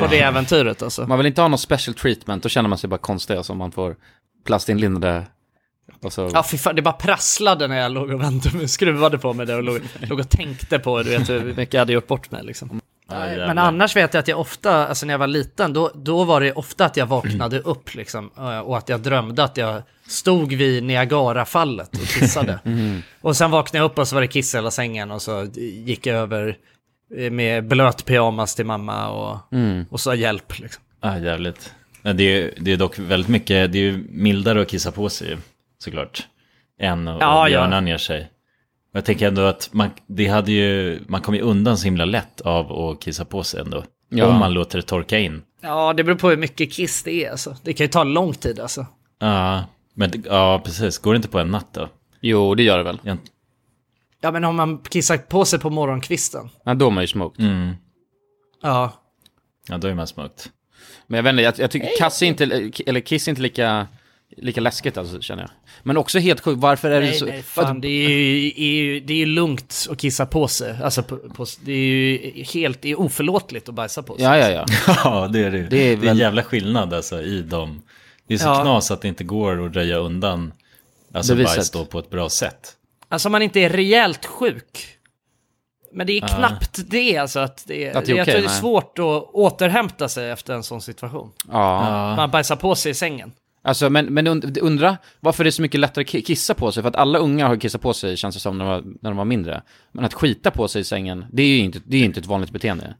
Speaker 4: på det äventyret alltså.
Speaker 1: Man vill inte ha någon special treatment, då känner man sig bara konstig alltså, om man får plastinlindade alltså, och så...
Speaker 4: Ja, fy fan, det bara prasslade när jag låg och väntade mig, skruvade på mig det och låg, låg och tänkte på du vet, hur mycket jag hade gjort bort mig. Liksom. Nej,
Speaker 1: jävlar.
Speaker 4: men annars vet jag att jag ofta, alltså när jag var liten, då, då var det ofta att jag vaknade upp liksom, eh, och att jag drömde att jag stod vid Niagarafallet och kissade.
Speaker 1: Mhm.
Speaker 4: Och sen vaknade jag upp och så var det kiss i hela sängen och så gick jag över eh, med blöt pyjamas till mamma och,
Speaker 3: Mm.
Speaker 4: och sa hjälp. Liksom.
Speaker 3: Ja, Ah, jävligt. Men det är, ju- det är dock väldigt mycket, det är ju mildare att kissa på sig ju, såklart. Än att
Speaker 4: Ja,
Speaker 3: ja,
Speaker 4: ja.
Speaker 3: björna ner sig. Och jag tänker ändå att man, det hade ju, man kom ju undan så himla lätt av att kissa på sig ändå.
Speaker 4: Ja.
Speaker 3: Om man låter det torka in.
Speaker 4: Ja, det beror på hur mycket kiss det är alltså. Det kan ju ta lång tid alltså.
Speaker 3: Ja, men det- ja, precis. Går det inte på en natt då?
Speaker 1: Jo, det gör det väl.
Speaker 4: Ja, men om man kissar på sig på morgonkvisten.
Speaker 1: Ja, då är man ju smoked.
Speaker 4: Ja.
Speaker 3: Ja, då är man smoked.
Speaker 1: Men jag vet inte, jag, jag tycker kass är inte, eller kiss är inte lika, lika läskigt alltså, känner jag. Men också helt sjukt, varför är det
Speaker 4: Nej,
Speaker 1: så...
Speaker 4: nej, fan, det är ju, är ju, det är ju lugnt att kissa på sig. Alltså, på, på, det är ju helt det är oförlåtligt att bajsa på sig.
Speaker 1: Ja, ja, ja.
Speaker 3: ja, det är det ju.
Speaker 1: Det
Speaker 3: Det
Speaker 1: är
Speaker 3: är,
Speaker 1: väl-
Speaker 3: en jävla skillnad alltså i de Det är så
Speaker 4: Ja.
Speaker 3: knas att det inte går att röja undan alltså
Speaker 1: Beviset.
Speaker 3: bajs då på ett bra sätt.
Speaker 4: Alltså om man inte är rejält sjuk. Men det är
Speaker 3: Ja.
Speaker 4: knappt det alltså att det är,
Speaker 1: Att det är
Speaker 4: jag
Speaker 1: okej,
Speaker 4: tror det är
Speaker 1: nej.
Speaker 4: svårt att återhämta sig efter en sån situation.
Speaker 1: Ja.
Speaker 4: Man bajsar på sig i sängen.
Speaker 1: Alltså, men, men und- undra varför det är så mycket lättare att ki- kissa på sig. För att alla unga har kissat på sig, känns det som, när de var, när de var mindre. Men att skita på sig i sängen, det är ju inte, det är ju inte ett vanligt beteende.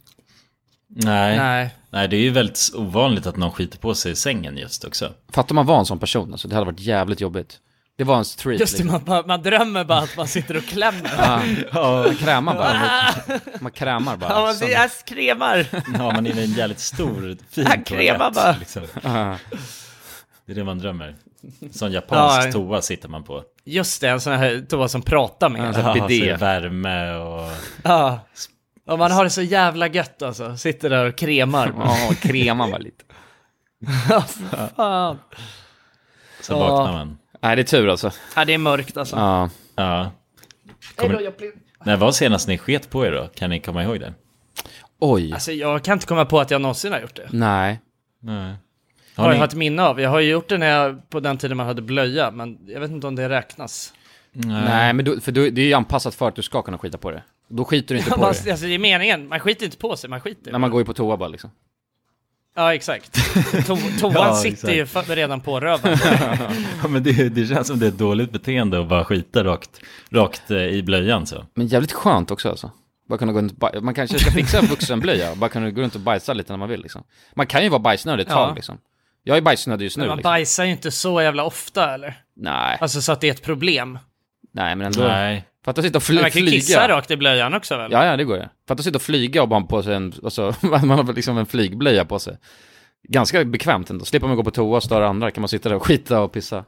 Speaker 3: Nej.
Speaker 4: Nej.
Speaker 3: Nej, det är ju väldigt ovanligt att någon skiter på sig i sängen just också.
Speaker 1: Fattar man var en sån person, alltså, det hade varit jävligt jobbigt. Det var ens treat.
Speaker 4: Just det,
Speaker 1: liksom.
Speaker 4: man, man, man drömmer bara att man sitter och klämmer.
Speaker 1: Ja, man krämar bara. Man krämar bara.
Speaker 4: Ja, man,
Speaker 1: Sen-
Speaker 4: jag kremar.
Speaker 3: Ja, man är i en jävligt stor, fin
Speaker 4: Han kremar
Speaker 3: toalett.
Speaker 4: bara.
Speaker 3: Liksom.
Speaker 1: Ja.
Speaker 3: Det är det man drömmer. Sån japansk
Speaker 4: Ja.
Speaker 3: toa sitter man på.
Speaker 4: Just det, en sån här toa som pratar med en.
Speaker 3: Ja, så är det värme och...
Speaker 4: Ja. Och man har det så jävla gött alltså. Sitter där och kremar.
Speaker 1: Ja, och kremar bara lite.
Speaker 4: Ja, fan.
Speaker 3: Så
Speaker 4: Ja.
Speaker 3: vaknar man.
Speaker 1: Nej, det är tur alltså.
Speaker 4: Ja, det är mörkt alltså.
Speaker 1: Ja.
Speaker 3: ja.
Speaker 4: Hej då,
Speaker 3: Kommer...
Speaker 4: Joplin.
Speaker 3: När var senast ni sket på er då? Kan ni komma ihåg det?
Speaker 1: Oj.
Speaker 4: Alltså jag kan inte komma på att jag någonsin har gjort det.
Speaker 1: Nej.
Speaker 3: Nej.
Speaker 4: Har,
Speaker 3: Har ni-
Speaker 4: jag ett minne av. Jag har ju gjort det när jag, på den tiden man hade blöja, men jag vet inte om det räknas.
Speaker 1: Nej, men du, för du, det är ju anpassat för att du ska kunna skita på det. Då skiter du inte
Speaker 4: Ja,
Speaker 1: på
Speaker 4: man,
Speaker 1: det.
Speaker 4: alltså det är meningen, man skiter inte på sig, man skiter.
Speaker 1: När man går ju på toa bara liksom.
Speaker 4: Ja exakt. To toan
Speaker 3: Ja,
Speaker 4: sitter ju fa- redan på röven.
Speaker 3: ja, men det, det känns som det är ett dåligt beteende att bara skita rakt, rakt eh, i blöjan så.
Speaker 1: Men jävligt skönt också alltså. Bara kunna gå runt och baj- man kanske ska fixa en vuxenblöja, bara kunna gå runt och bajsa lite när man vill liksom. Man kan ju vara bajsnödig ett
Speaker 4: Ja.
Speaker 1: tag liksom. Jag är bajsnödig just nu
Speaker 4: Men man
Speaker 1: liksom.
Speaker 4: bajsar ju inte så jävla ofta eller?
Speaker 1: Nej,
Speaker 4: Alltså så att det är ett problem.
Speaker 1: nej men ändå.
Speaker 3: Nej.
Speaker 1: Fatta att sitta och fly-
Speaker 4: Men man kan ju
Speaker 1: flyga.
Speaker 4: kissa rakt i blöjan också väl?
Speaker 1: Ja, ja det går ju. Fatta att sitta och flyga och bara ha på sig en, alltså, man har liksom en flygblöja på sig. Ganska bekvämt ändå. Slipper man gå på toa och störa andra, kan man sitta där och skita och pissa.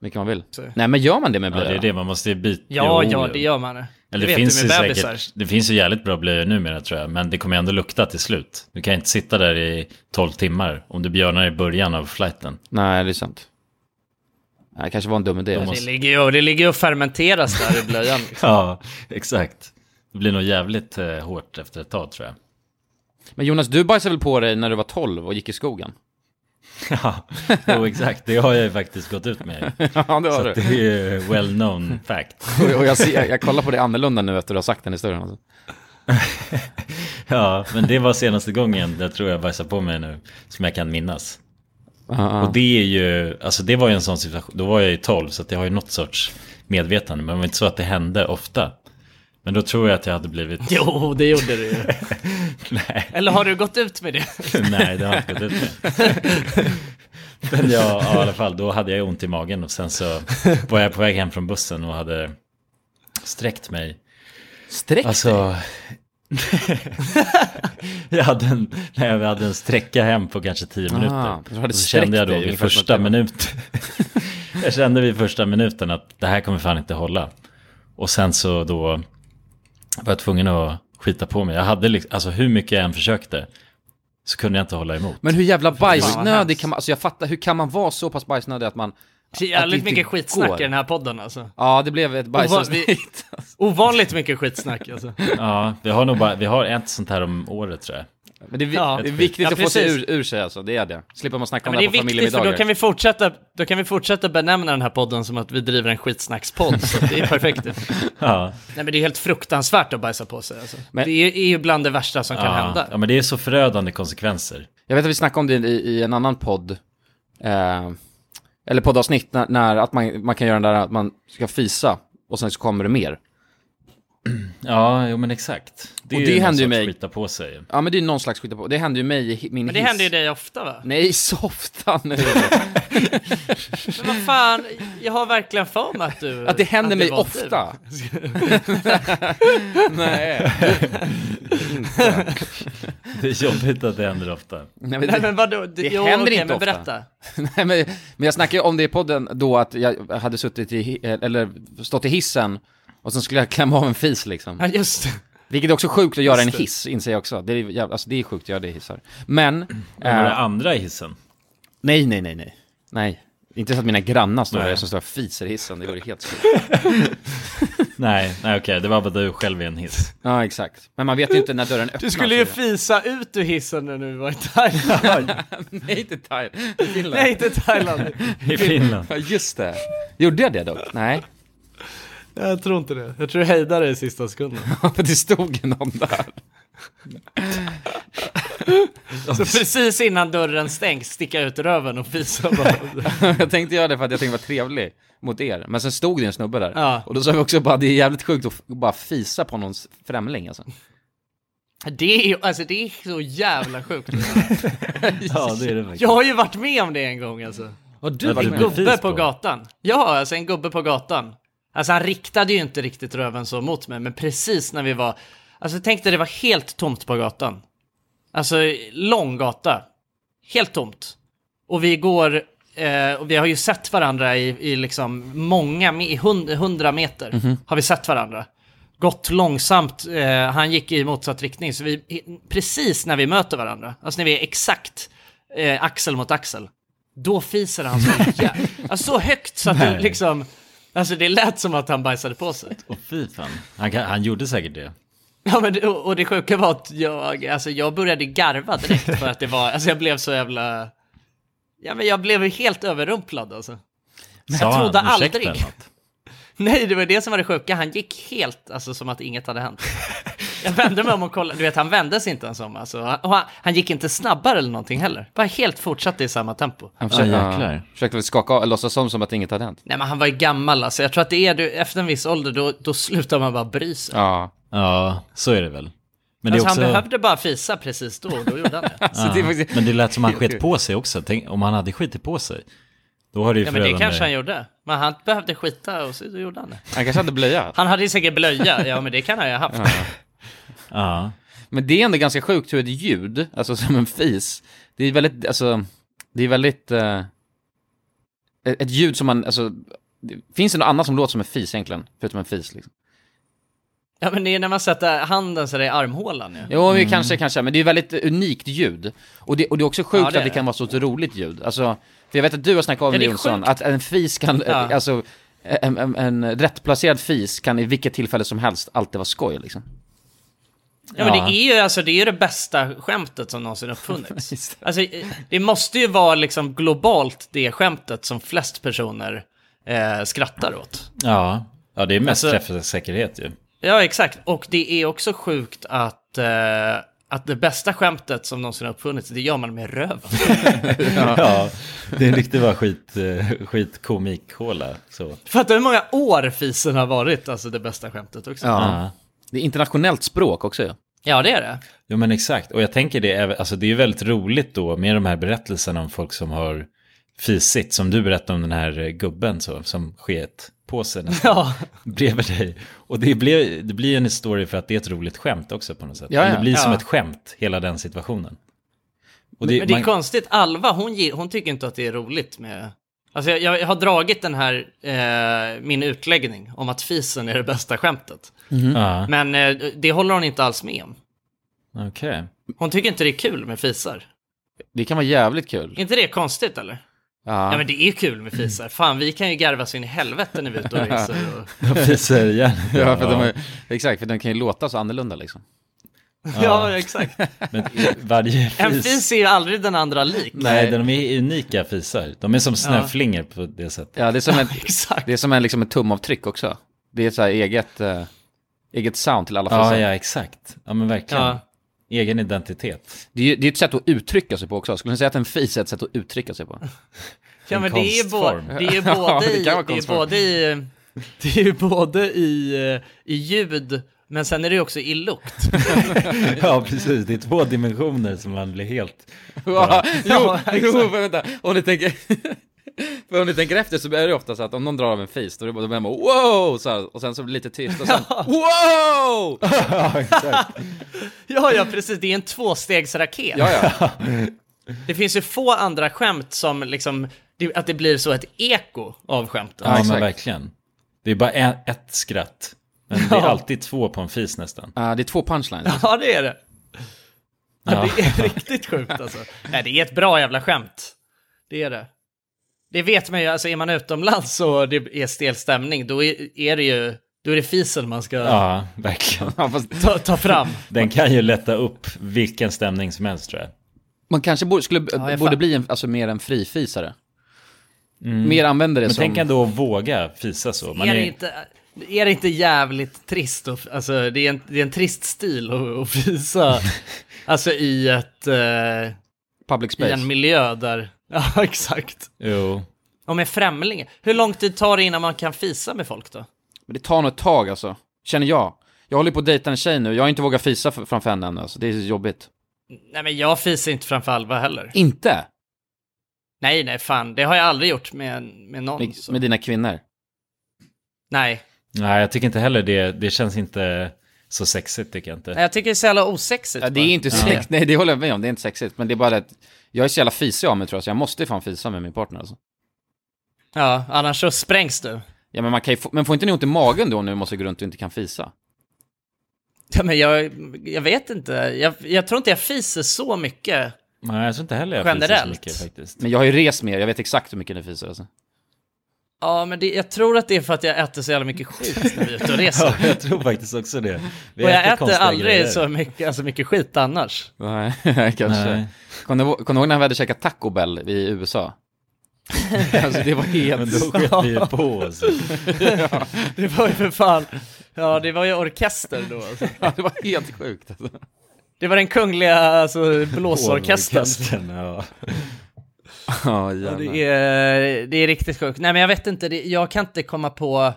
Speaker 1: Mycket man vill. Nej men gör man det med
Speaker 3: Ja,
Speaker 1: blöja?
Speaker 3: det är det, man måste ju byta.
Speaker 4: Ja,
Speaker 3: Jo,
Speaker 4: ja,
Speaker 3: jo.
Speaker 4: det gör man.
Speaker 3: Eller det,
Speaker 4: vet
Speaker 3: finns
Speaker 4: du
Speaker 3: ju
Speaker 4: med bebisar.
Speaker 3: säkert, det finns ju jävligt bra blöjor numera tror jag, men det kommer ändå lukta till slut. Du kan inte sitta där i 12 timmar om du björnar i början av flighten.
Speaker 1: Nej, det är sant. Nej, det kanske var en dum idé. Jag
Speaker 3: Då
Speaker 4: Det liksom-
Speaker 1: måste-
Speaker 4: ligger ju det ligger ju och fermenteras där i blöjan.
Speaker 3: Ja, exakt. Det blir nog jävligt eh, hårt efter ett tag tror jag.
Speaker 1: Men Jonas, du bajsade väl på dig när du var 12 och gick i skogen?
Speaker 3: Ja, jo, exakt. Det har jag ju faktiskt gått ut med.
Speaker 1: Ja, det har
Speaker 3: Så
Speaker 1: du.
Speaker 3: att det är ju well known fact.
Speaker 1: Och och jag, ser, jag kollar på det annorlunda nu efter att du har sagt den historien. Alltså.
Speaker 3: Ja, men det var senaste gången jag tror jag bajsade på mig nu, som jag kan minnas.
Speaker 1: Ja,
Speaker 3: Och det är ju, alltså det var ju en sån situation, då var jag ju 12 så att jag har ju något sorts medvetande, men det var inte så att det hände ofta. Men då tror jag att jag hade blivit...
Speaker 4: Jo, det gjorde du ju.
Speaker 3: Nej.
Speaker 4: Eller har du gått ut med det?
Speaker 3: Nej, det har jag inte gått ut med. Men jag, ja, i alla fall, då hade jag ju ont i magen och sen så var jag på väg hem från bussen och hade sträckt mig.
Speaker 1: Sträck
Speaker 3: Alltså... jag hade en, nej, jag hade en sträcka hem på kanske 10
Speaker 1: Ah,
Speaker 3: minuter.
Speaker 1: du hade
Speaker 3: och så
Speaker 1: sträckt
Speaker 3: kände jag då
Speaker 1: dig
Speaker 3: vid
Speaker 1: ungefär som
Speaker 3: första
Speaker 1: att det var-
Speaker 3: minuten. jag kände vid första minuten att det här kommer fan inte hålla. Och sen så då var jag tvungen att skita på mig. Jag hade liksom, alltså hur mycket jag än försökte så kunde jag inte hålla emot.
Speaker 1: Men hur jävla
Speaker 4: Fan, vad
Speaker 1: bajsnödig
Speaker 4: hemskt.
Speaker 1: kan man, alltså jag fattar, hur kan man vara så pass bajsnödig att man...
Speaker 4: Det är jävligt
Speaker 1: inte
Speaker 4: mycket skitsnack
Speaker 1: går.
Speaker 4: i den här podden alltså.
Speaker 1: Ja, det blev ett Alltså, bajsavsnitt.
Speaker 4: Ovanligt mycket skitsnack alltså.
Speaker 3: Ja, vi har nog bara, vi har ett sånt här om året tror jag.
Speaker 1: Men det är, vi-
Speaker 4: Ja.
Speaker 1: det är viktigt
Speaker 4: Ja,
Speaker 1: att få sig
Speaker 4: precis.
Speaker 1: ur, ur sig alltså, det är det. Slipper man snacka
Speaker 4: Ja,
Speaker 1: om
Speaker 4: men det
Speaker 1: det
Speaker 4: är
Speaker 1: här på
Speaker 4: viktigt för då
Speaker 1: familjemiddagar.
Speaker 4: kan, vi fortsätta, då kan vi fortsätta benämna den här podden som att vi driver en skitsnackspodd. Så det är perfekt.
Speaker 3: Ja,
Speaker 4: Nej men det är helt fruktansvärt att bajsa på sig alltså.
Speaker 1: Men-
Speaker 4: Det är, är ju bland det värsta som kan
Speaker 3: ja.
Speaker 4: hända.
Speaker 3: ja men det är så förödande konsekvenser.
Speaker 1: Jag vet att vi snackade om det i, i en annan podd, eh, eller poddavsnitt, när, när att man, man kan göra den där att man ska fisa och sen så kommer det mer.
Speaker 3: Ja, jo men exakt. Det är
Speaker 1: Och det
Speaker 3: ju någon
Speaker 1: hände ju
Speaker 3: sorts
Speaker 1: mig.
Speaker 3: skita på sig.
Speaker 1: Ja men det är någon slags skita på, det hände ju mig i hi- min
Speaker 4: Men det
Speaker 1: hiss.
Speaker 4: händer ju dig ofta va?
Speaker 1: Nej, softa nu.
Speaker 4: Men vad fan, jag har verkligen för mig att du...
Speaker 1: Att det händer mig
Speaker 4: var du.
Speaker 1: ofta. Nej.
Speaker 3: Det är jobbigt att det händer ofta.
Speaker 1: Nej,
Speaker 4: Nej men vadå? Det, jo,
Speaker 1: händer
Speaker 4: okej,
Speaker 1: inte
Speaker 4: men
Speaker 1: ofta.
Speaker 4: berätta.
Speaker 1: Nej, men, men jag snackade ju om det i podden då att jag hade suttit i, hi- eller stått i hissen och sen skulle jag klämma av en fis liksom.
Speaker 4: Ja just det.
Speaker 1: Vilket är också sjukt att göra i en
Speaker 4: Just det.
Speaker 1: hiss, inser jag också. Det är, jävla, alltså, det är sjukt att göra det i hissar. Men...
Speaker 3: Men var det
Speaker 1: eh,
Speaker 3: andra i hissen?
Speaker 1: nej, nej, nej, nej. Nej. Inte så att mina grannar står
Speaker 3: Nej.
Speaker 1: där som står och fiser i hissen, det vore helt sjukt.
Speaker 3: nej, nej okej, det var bara du själv i en hiss.
Speaker 1: Ja, exakt. Men man vet ju inte när dörren öppnas.
Speaker 4: Du skulle ju fisa ut ur hissen när du var i Thailand.
Speaker 1: Nej, till Thailand.
Speaker 4: Nej, inte Thailand.
Speaker 1: I Finland. Ja, just det. Gjorde jag det dock? Nej.
Speaker 4: Jag tror inte det. Jag tror du hejdade dig i sista sekunden.
Speaker 1: Ja, men det stod någon där.
Speaker 4: Så precis innan dörren stängs, sticka ut röven och fisa bara.
Speaker 1: jag tänkte göra det för att jag tänkte vara trevlig mot er. Men sen stod det en snubbe där.
Speaker 4: Ja.
Speaker 1: Och då sa vi också bara, det är jävligt sjukt att f- bara fisa på någons främling alltså.
Speaker 4: Det är, ju- alltså, det är så jävla sjukt.
Speaker 3: Ja, det är det faktiskt.
Speaker 4: Jag har ju varit med om det en gång alltså.
Speaker 1: Och
Speaker 3: du var
Speaker 4: en
Speaker 3: med om
Speaker 4: gubbe
Speaker 3: fis
Speaker 4: på
Speaker 3: på?
Speaker 4: gatan. Ja, alltså en gubbe på gatan. Alltså han riktade ju inte riktigt röven så mot mig, men precis när vi var... Alltså tänk dig det var helt tomt på gatan. Alltså lång gata. Helt tomt. Och vi går... Eh, och vi har ju sett varandra i, i liksom många, me- i hund, hundra meter
Speaker 1: Mhm.
Speaker 4: har vi sett varandra. Gått långsamt, eh, han gick i motsatt riktning, så vi, i- precis när vi möter varandra, alltså när vi är exakt eh, axel mot axel, då fiser han så, jä- alltså, så högt så att du
Speaker 3: Nej.
Speaker 4: liksom, alltså det lät som att han bajsade på sig.
Speaker 3: Och fy fan. Han, kan- han gjorde säkert det.
Speaker 4: Ja, men, det- och och det sjuka var att jag, alltså, jag började garva direkt för att det var, alltså jag blev så jävla, ja men jag blev helt överrumplad alltså. Men
Speaker 3: Sa
Speaker 4: jag
Speaker 3: han,
Speaker 4: trodde
Speaker 3: "Ursäkta"
Speaker 4: aldrig.
Speaker 3: eller något?
Speaker 4: Nej, det var det som var det sjuka. Han gick helt, alltså som att inget hade hänt. Jag vände mig om och kollade, du vet han vände sig inte ens om alltså. Och han, han gick inte snabbare eller någonting heller. Bara helt fortsatte i samma tempo.
Speaker 1: Han försökte, försökte väl skaka av, låtsas som, som att inget hade hänt.
Speaker 4: Nej men han var ju gammal alltså. Jag tror att det är, du, efter en viss ålder då, då slutar man bara bry sig.
Speaker 1: Ja.
Speaker 3: Ja, så är det väl. Men det är
Speaker 4: alltså,
Speaker 3: också...
Speaker 4: Han behövde bara fisa precis då, och då gjorde han det.
Speaker 3: Ja, Men det lät som han skett på sig också. Tänk, om han hade skitit på sig. Då har det ju
Speaker 4: Ja men det
Speaker 3: förödande-
Speaker 4: kanske han gjorde. Men han behövde skita och så då gjorde han det.
Speaker 1: Han kanske hade blöja.
Speaker 4: Han hade ju säkert blöja, ja men det kan han ju ha haft.
Speaker 1: Men det är ändå ganska sjukt hur ett ljud, alltså som en fis, det är väldigt, alltså, det är väldigt, eh, ett ljud som man, alltså, det, finns det något annat som låter som en fis egentligen? Förutom en fis liksom.
Speaker 4: Ja men det är när man sätter handen så där i armhålan ju.
Speaker 1: Jo, men kanske, kanske, men det är väldigt unikt ljud. Och det, och det är också sjukt
Speaker 4: Ja, det är
Speaker 1: att det
Speaker 4: det.
Speaker 1: kan vara så ett roligt ljud. Alltså, för jag vet att du har snackat om
Speaker 4: Ja,
Speaker 1: det
Speaker 4: det är
Speaker 1: Jonsson,
Speaker 4: sjukt.
Speaker 1: att en fis kan,
Speaker 4: Ja.
Speaker 1: eh, alltså, en, en, en rättplacerad fis kan i vilket tillfälle som helst alltid vara skoj liksom.
Speaker 4: Ja, men
Speaker 1: Ja.
Speaker 4: det är ju alltså, det är ju det bästa skämtet som någonsin uppfunnits. alltså, eh, det måste ju vara liksom globalt det skämtet som flest personer eh, skrattar åt.
Speaker 3: Ja. ja, det är mest
Speaker 4: Alltså-
Speaker 3: träffsäkerhet ju.
Speaker 4: Ja, exakt. Och det är också sjukt att, eh, att det bästa skämtet som någonsin har uppfunnits, det gör man med röven.
Speaker 3: Ja. det är en riktig bara skit, eh, skitkomikhåla. Så.
Speaker 4: Fattar hur många år fisen har varit, alltså det bästa skämtet också.
Speaker 1: Det är internationellt språk också ju.
Speaker 4: ja det är det.
Speaker 3: Jo men exakt, och jag tänker det, är- alltså det är ju väldigt roligt då med de här berättelserna om folk som har fisit, som du berättade om den här eh, gubben så, som sket på sig nästan,
Speaker 4: Ja.
Speaker 3: bredvid dig. Och det blir, det blir en historia för att det är ett roligt skämt också på något sätt.
Speaker 4: Ja, ja.
Speaker 3: Det blir som
Speaker 4: Ja.
Speaker 3: ett skämt, hela den situationen. Och
Speaker 4: men det är
Speaker 3: man-
Speaker 4: konstigt, Alva hon, ge- hon tycker inte att det är roligt med... Alltså jag, jag har dragit den här, eh, min utläggning om att fisen är det bästa skämtet.
Speaker 3: Mhm. Ja.
Speaker 4: Men eh, det håller hon inte alls med om.
Speaker 3: Okej.
Speaker 4: Hon tycker inte det är kul med fisar.
Speaker 1: Det kan vara jävligt kul.
Speaker 4: Är inte det konstigt eller? Ja Mm. men det är ju kul med fisar. Fan vi kan ju garva så in i helvete när vi är ute och reser. Och...
Speaker 3: De fiser igen.
Speaker 1: Ja, för de
Speaker 3: Ja.
Speaker 1: är, exakt, för den kan ju låta så annorlunda liksom.
Speaker 4: Ja, exakt.
Speaker 3: Men varje
Speaker 4: En
Speaker 3: fis...
Speaker 4: fis är ju aldrig den andra lik.
Speaker 3: Nej, de är unika fisar. De är som snöflingor på det sättet.
Speaker 1: Ja, det är som en, det är som en, liksom, en tumavtryck också. Det är ett så här eget, eh, eget sound till alla
Speaker 3: Ja,
Speaker 1: faser.
Speaker 3: ja, exakt. Ja, men verkligen.
Speaker 1: Ja.
Speaker 3: Egen identitet.
Speaker 1: Det är ju det är ett sätt att uttrycka sig på också. Skulle ni säga att en fis är ett sätt att uttrycka sig på?
Speaker 4: Ja men det är, ju bo- det är ju
Speaker 1: Ja,
Speaker 4: både i,
Speaker 1: det kan vara
Speaker 4: det är ju
Speaker 1: konstform.
Speaker 4: både i, det är ju både i, eh, i ljud, men sen är det ju också i lukt.
Speaker 3: ja, precis. Det är två dimensioner som man blir helt...
Speaker 1: Ja, jo,
Speaker 4: Ja,
Speaker 1: jo,
Speaker 4: exakt.
Speaker 1: men vänta. Om ni tänker... För om ni tänker efter så är det ofta så att om någon drar av en fis, då är det bara- då blir man bara wow! Så här, och sen så blir det lite tyst och sen wow!
Speaker 4: Ja, ja, precis. Det är en tvåstegsraket.
Speaker 1: Ja, ja.
Speaker 4: Det finns ju få andra skämt som liksom, det- att det blir så ett eko av skämten.
Speaker 3: Ja, men verkligen. Det är bara en, ett skratt. Men det är
Speaker 4: Ja.
Speaker 3: alltid två på en fis nästan.
Speaker 1: Ja, Ah, det är två punchlines.
Speaker 4: Ja, det är det. Ja,
Speaker 3: Ja.
Speaker 4: det är riktigt sjukt alltså. Nej, det är ett bra jävla skämt. Det är det. Det vet man ju, alltså är man utomlands och det är stel stämning, då är, är det ju Då är det fisen man ska
Speaker 3: Ja, verkligen.
Speaker 4: ta, ta fram.
Speaker 3: Den kan ju lätta upp vilken stämning som helst tror jag.
Speaker 1: Man kanske borde, skulle,
Speaker 4: Ja, jag
Speaker 1: borde
Speaker 4: fa-
Speaker 1: bli en, alltså, mer en frifisare. Mer använder det
Speaker 3: Men
Speaker 1: som...
Speaker 3: tänk ändå att våga fisa så. Man
Speaker 4: är,
Speaker 3: är,
Speaker 4: det inte, är det inte jävligt trist? Och, alltså, det, är en, det är en trist stil att, att fisa. alltså i ett... eh,
Speaker 1: Public
Speaker 4: I
Speaker 1: space.
Speaker 4: en miljö där... Ja, exakt.
Speaker 3: Jo.
Speaker 4: Och med främlingar. Hur lång tid tar det innan man kan fisa med folk då?
Speaker 1: Men det tar nog ett tag alltså, känner jag. Jag håller på att dejta en tjej nu, jag har inte vågat fisa f- framför henne än alltså. det är jobbigt.
Speaker 4: Nej, men jag fisar inte framför Alva heller.
Speaker 1: Inte?
Speaker 4: Nej, nej, fan. Det har jag aldrig gjort med, med någon.
Speaker 1: Med,
Speaker 4: så.
Speaker 1: med dina kvinnor?
Speaker 4: Nej.
Speaker 3: Nej, jag tycker inte heller det. Det känns inte så sexigt tycker jag inte.
Speaker 4: nej, jag tycker det är så jävla osexigt.
Speaker 1: Ja, det
Speaker 4: bara.
Speaker 1: är inte sexigt, nej det håller jag med om, det är inte sexigt. Men det är bara att jag är så jävla fisig av mig tror jag, så jag måste fan fisa med min partner alltså.
Speaker 4: Ja, annars så sprängs du.
Speaker 1: Ja men man kan ju få, men får inte ni ont i magen då när du måste gå runt och inte kan fisa?
Speaker 4: Ja, men jag, jag vet inte. Jag, jag tror inte jag fiser så mycket.
Speaker 3: Nej, jag tror inte heller jag fisar så
Speaker 4: Generellt.
Speaker 3: mycket faktiskt.
Speaker 1: Men jag har ju rest med er, jag vet exakt hur mycket ni fiser alltså.
Speaker 4: Ja, men det, jag tror att det är för att jag äter så jävla mycket skit när vi är ute och reser.
Speaker 3: Ja, jag tror faktiskt också det. Vi
Speaker 4: och jag äter
Speaker 3: konstiga
Speaker 4: aldrig
Speaker 3: grejer.
Speaker 4: så mycket, alltså mycket skit annars.
Speaker 1: Nej, kanske.
Speaker 3: Nej.
Speaker 1: Kommer ni, ihåg- kommer ni ihåg när vi hade käkat Taco Bell i USA? alltså det var helt...
Speaker 3: Men då sket vi ju på oss.
Speaker 4: ja, det var ju för fan, ja det var ju orkester då alltså.
Speaker 1: Ja, det var helt sjukt alltså.
Speaker 4: Det var den kungliga alltså, blåsorkestern.
Speaker 3: Orkestern, Ja.
Speaker 1: Ja,
Speaker 4: Ja,
Speaker 1: jävlar.
Speaker 4: det, är, det är riktigt sjukt. Nej men jag vet inte, det, jag kan inte komma på...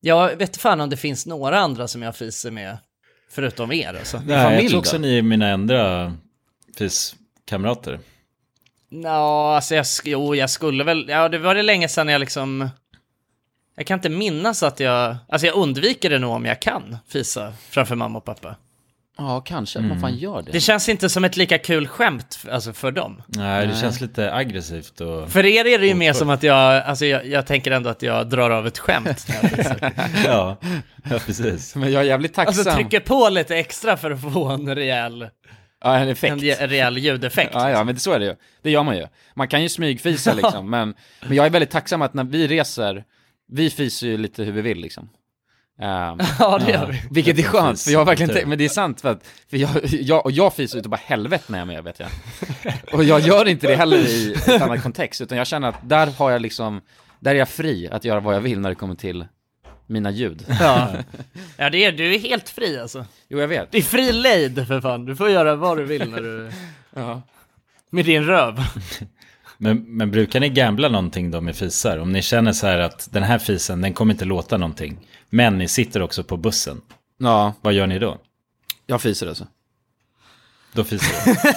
Speaker 4: Jag vet fan om det finns några andra som jag fiser med, förutom er alltså.
Speaker 3: Nej, jag tror också ni är mina andra fiskamrater.
Speaker 4: Nå, alltså jag, sk- jo, jag skulle väl... Ja, det var det länge sedan jag liksom... Jag kan inte minnas att jag... Alltså jag undviker det nog om jag kan fisa framför mamma och pappa.
Speaker 1: Ja, kanske. Man fan gör det.
Speaker 4: Det känns inte som ett lika kul skämt f- alltså, för dem.
Speaker 3: Nej, det känns lite aggressivt och...
Speaker 4: För er är det ju mer som att jag... Alltså jag, jag tänker ändå att jag drar av ett skämt. när jag fisar.
Speaker 3: ja, ja, precis.
Speaker 1: Men jag är jävligt tacksam.
Speaker 4: alltså trycker på lite extra för att få en rejäl,
Speaker 1: Ja, en effekt.
Speaker 4: en re- rejäl ljudeffekt.
Speaker 1: Ja, ja, men det- så är det ju. Det gör man ju. Man kan ju smygfisa liksom, men, men jag är väldigt tacksam att när vi reser, vi fiser ju lite hur vi vill liksom. Ehm,
Speaker 4: Ja, det gör vi.
Speaker 1: vilket är skönt, för jag har verkligen
Speaker 3: Precis.
Speaker 1: tänkt, men det är sant för att, för jag, jag, och jag fiser utav bara helvete när jag är med vet jag. Och jag gör inte det heller i ett annat kontext, utan jag känner att där har jag liksom, där är jag fri att göra vad jag vill när det kommer till mina ljud.
Speaker 4: Ja. ja, det är du är helt fri alltså.
Speaker 1: Jo, jag vet.
Speaker 4: Det är fri lejd för fan. Du får göra vad du vill när du...
Speaker 1: Ja.
Speaker 4: Med din röv.
Speaker 3: Men, men brukar ni gambla någonting då med fisar? Om ni känner så här att den här fisen, den kommer inte låta någonting. Men ni sitter också på bussen.
Speaker 1: Ja,
Speaker 3: Vad gör ni då?
Speaker 1: jag fiser alltså.
Speaker 3: Då fiser ni.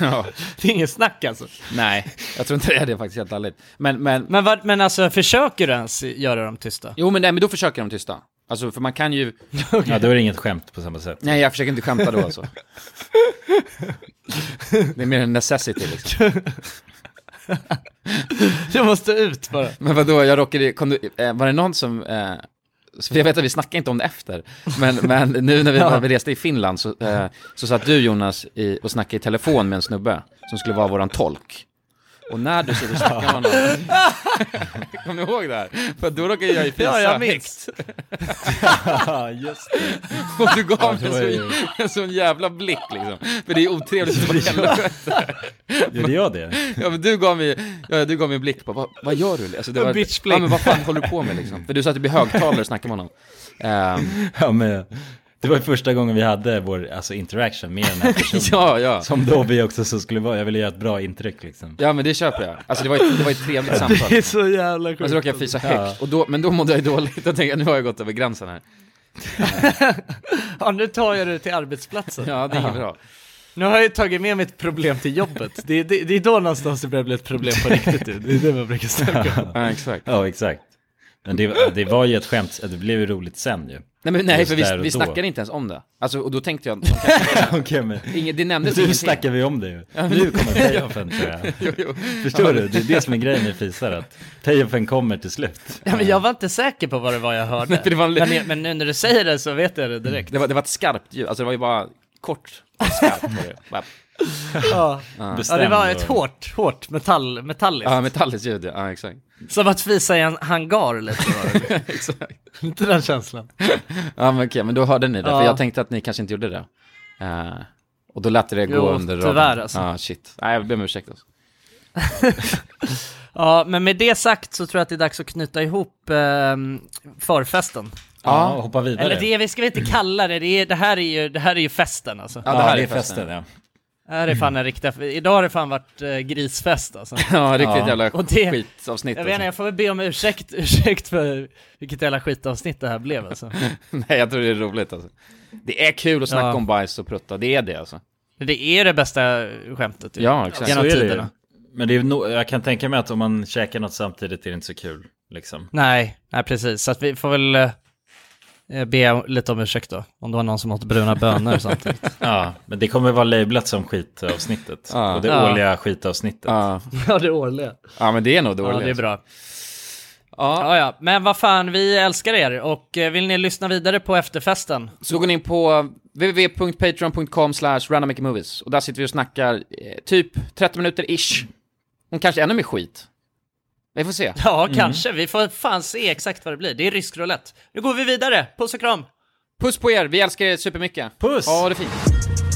Speaker 1: Ja.
Speaker 4: Det är inget snack alltså.
Speaker 1: Nej, jag tror inte det är det faktiskt, helt ärligt. Men, men,
Speaker 4: Men, vad, men alltså, försöker du ens göra dem tysta?
Speaker 1: Jo men, nej, men då försöker de tysta. Alltså för man kan ju...
Speaker 3: Ja, då är det inget skämt på samma sätt.
Speaker 1: Nej jag försöker inte skämta då alltså. Det är mer en necessity liksom.
Speaker 4: Jag måste ut bara.
Speaker 1: Men vadå, jag råkade, kom du, eh, var det någon som, eh, så jag vet att vi snackade inte om det efter, men, men nu när vi, när vi reste i Finland så, eh, så satt du Jonas i, och snackade i telefon med en snubbe som skulle vara våran tolk. Och när du sitter och snackar med honom, kommer du ihåg det här? För då råkade jag ju fisa
Speaker 4: Ja, jag
Speaker 1: högst.
Speaker 4: minns.
Speaker 3: Ja, Ah, just det.
Speaker 1: Och du gav mig
Speaker 3: det var
Speaker 1: så,
Speaker 3: ju-
Speaker 1: en sån jävla blick liksom. För det är otrevligt att helvete.
Speaker 3: Gjorde jag det?
Speaker 1: Ja men du gav mig, ja, du gav mig en blick på, vad, vad gör du? Alltså, det var,
Speaker 4: bitchblick.
Speaker 1: Ja men vad fan håller du på med liksom? För du satt och blev högtalare och snackade med honom. Ehm,
Speaker 3: Ja, men det var ju första gången vi hade vår alltså, interaction med den här personen.
Speaker 1: ja, ja.
Speaker 3: Som då vi också så skulle vara. Jag ville göra ett bra intryck liksom.
Speaker 1: Ja men det köper jag. Alltså det var ett, det var ett trevligt samtal.
Speaker 4: Det är så jävla sjukt.
Speaker 1: Och så råkade jag fisa högt, och då, men då mådde jag ju dåligt. Då tänkte jag, nu har jag gått över gränsen här.
Speaker 4: Ja, nu tar jag det till arbetsplatsen.
Speaker 1: Ja, det är inget bra.
Speaker 4: Nu har jag ju tagit med mitt problem till jobbet. Det, är- det, det är då någonstans det börjar bli ett problem på riktigt. ju. Det är det man brukar snacka om.
Speaker 1: Ja, exakt.
Speaker 3: Ja, exakt. Men det, det var ju ett skämt, det blev ju roligt sen ju.
Speaker 1: Nej men nej,
Speaker 3: Just
Speaker 1: för vi,
Speaker 3: där och
Speaker 1: vi
Speaker 3: då.
Speaker 1: snackade inte ens om det. Alltså, och då tänkte jag,
Speaker 3: Okej, men
Speaker 1: inget, det nämndes
Speaker 3: nu
Speaker 1: ingenting.
Speaker 3: snackar vi om det ju. Nu kommer payoffen tror jag.
Speaker 1: Jo, jo.
Speaker 3: Förstår du? Det är det som är grejen med fisar, att payoffen kommer till slut.
Speaker 4: Ja, men jag var inte säker på vad det var jag hörde.
Speaker 1: för det var en-
Speaker 4: men, jag- men nu när du säger det så vet jag det direkt.
Speaker 1: Det var, det var ett skarpt ljud, alltså det var ju bara kort och skarpt. var det. Bara,
Speaker 4: ja. ja, det
Speaker 1: Bestämd
Speaker 4: var ett
Speaker 1: och-
Speaker 4: hårt, hårt metall, metalliskt.
Speaker 1: Ja, metalliskt ljud, ja. ja exakt.
Speaker 4: Som att visa i en hangar lite. var det. Inte den känslan.
Speaker 1: Ja, men okej, men då hörde ni det,
Speaker 4: Ja.
Speaker 1: för jag tänkte att ni kanske inte gjorde det. Eh, och då lät det gå
Speaker 4: Jo,
Speaker 1: under
Speaker 4: tyvärr, alltså.
Speaker 1: Ja, shit. Nej, jag ber om ursäkt alltså.
Speaker 4: Ja, men med det sagt så tror jag att det är dags att knyta ihop eh, förfesten.
Speaker 3: Ja, hoppa vidare.
Speaker 4: Eller det, vi ska väl inte kalla det, det, är, det, här är ju, det här är ju festen alltså.
Speaker 3: Ja, det här Ja, är det är festen. festen, ja.
Speaker 4: Det här är fan en riktig, idag har det fan varit eh, grisfest alltså.
Speaker 1: Ja, riktigt jävla
Speaker 4: Och det-
Speaker 1: skitavsnitt,
Speaker 4: Jag vet inte,
Speaker 1: alltså.
Speaker 4: jag får väl be om ursäkt, ursäkt för vilket jävla skitavsnitt det här blev alltså.
Speaker 1: Nej, jag tror det är roligt alltså. Det är kul att snacka
Speaker 4: Ja.
Speaker 1: om bajs och prutta, det är det alltså.
Speaker 4: Det är det bästa skämtet typ. ju. Genom
Speaker 3: Så är det ju.
Speaker 4: tiderna.
Speaker 3: Men det är, no- jag kan tänka mig att om man käkar något samtidigt är det inte så kul. Liksom.
Speaker 4: Nej, nej precis. Så att vi får väl eh, be lite om ursäkt då. Om det var någon som åt bruna bönor samtidigt.
Speaker 3: ja, men det kommer vara lablat som skitavsnittet.
Speaker 1: Ja.
Speaker 3: Och det
Speaker 1: Ja.
Speaker 3: årliga skitavsnittet.
Speaker 1: Ja.
Speaker 4: Ja, det årliga.
Speaker 1: ja, men det är nog det
Speaker 4: Ja,
Speaker 1: årliga.
Speaker 4: det är bra.
Speaker 1: Ja.
Speaker 4: ja, ja. Men vad fan, vi älskar er. Och eh, vill ni lyssna vidare på efterfesten?
Speaker 1: Så går ni in på www.patreon.com slash randomicmovies och där sitter vi och snackar eh, typ 30 minuter-ish. Om kanske ännu mer skit. Vi får se.
Speaker 4: Ja, kanske. Vi får fan se exakt vad det blir. Det är rysk roulette. Nu går vi vidare. Puss och kram!
Speaker 1: Puss på er, vi älskar er supermycket. Puss! Ja, det är fint.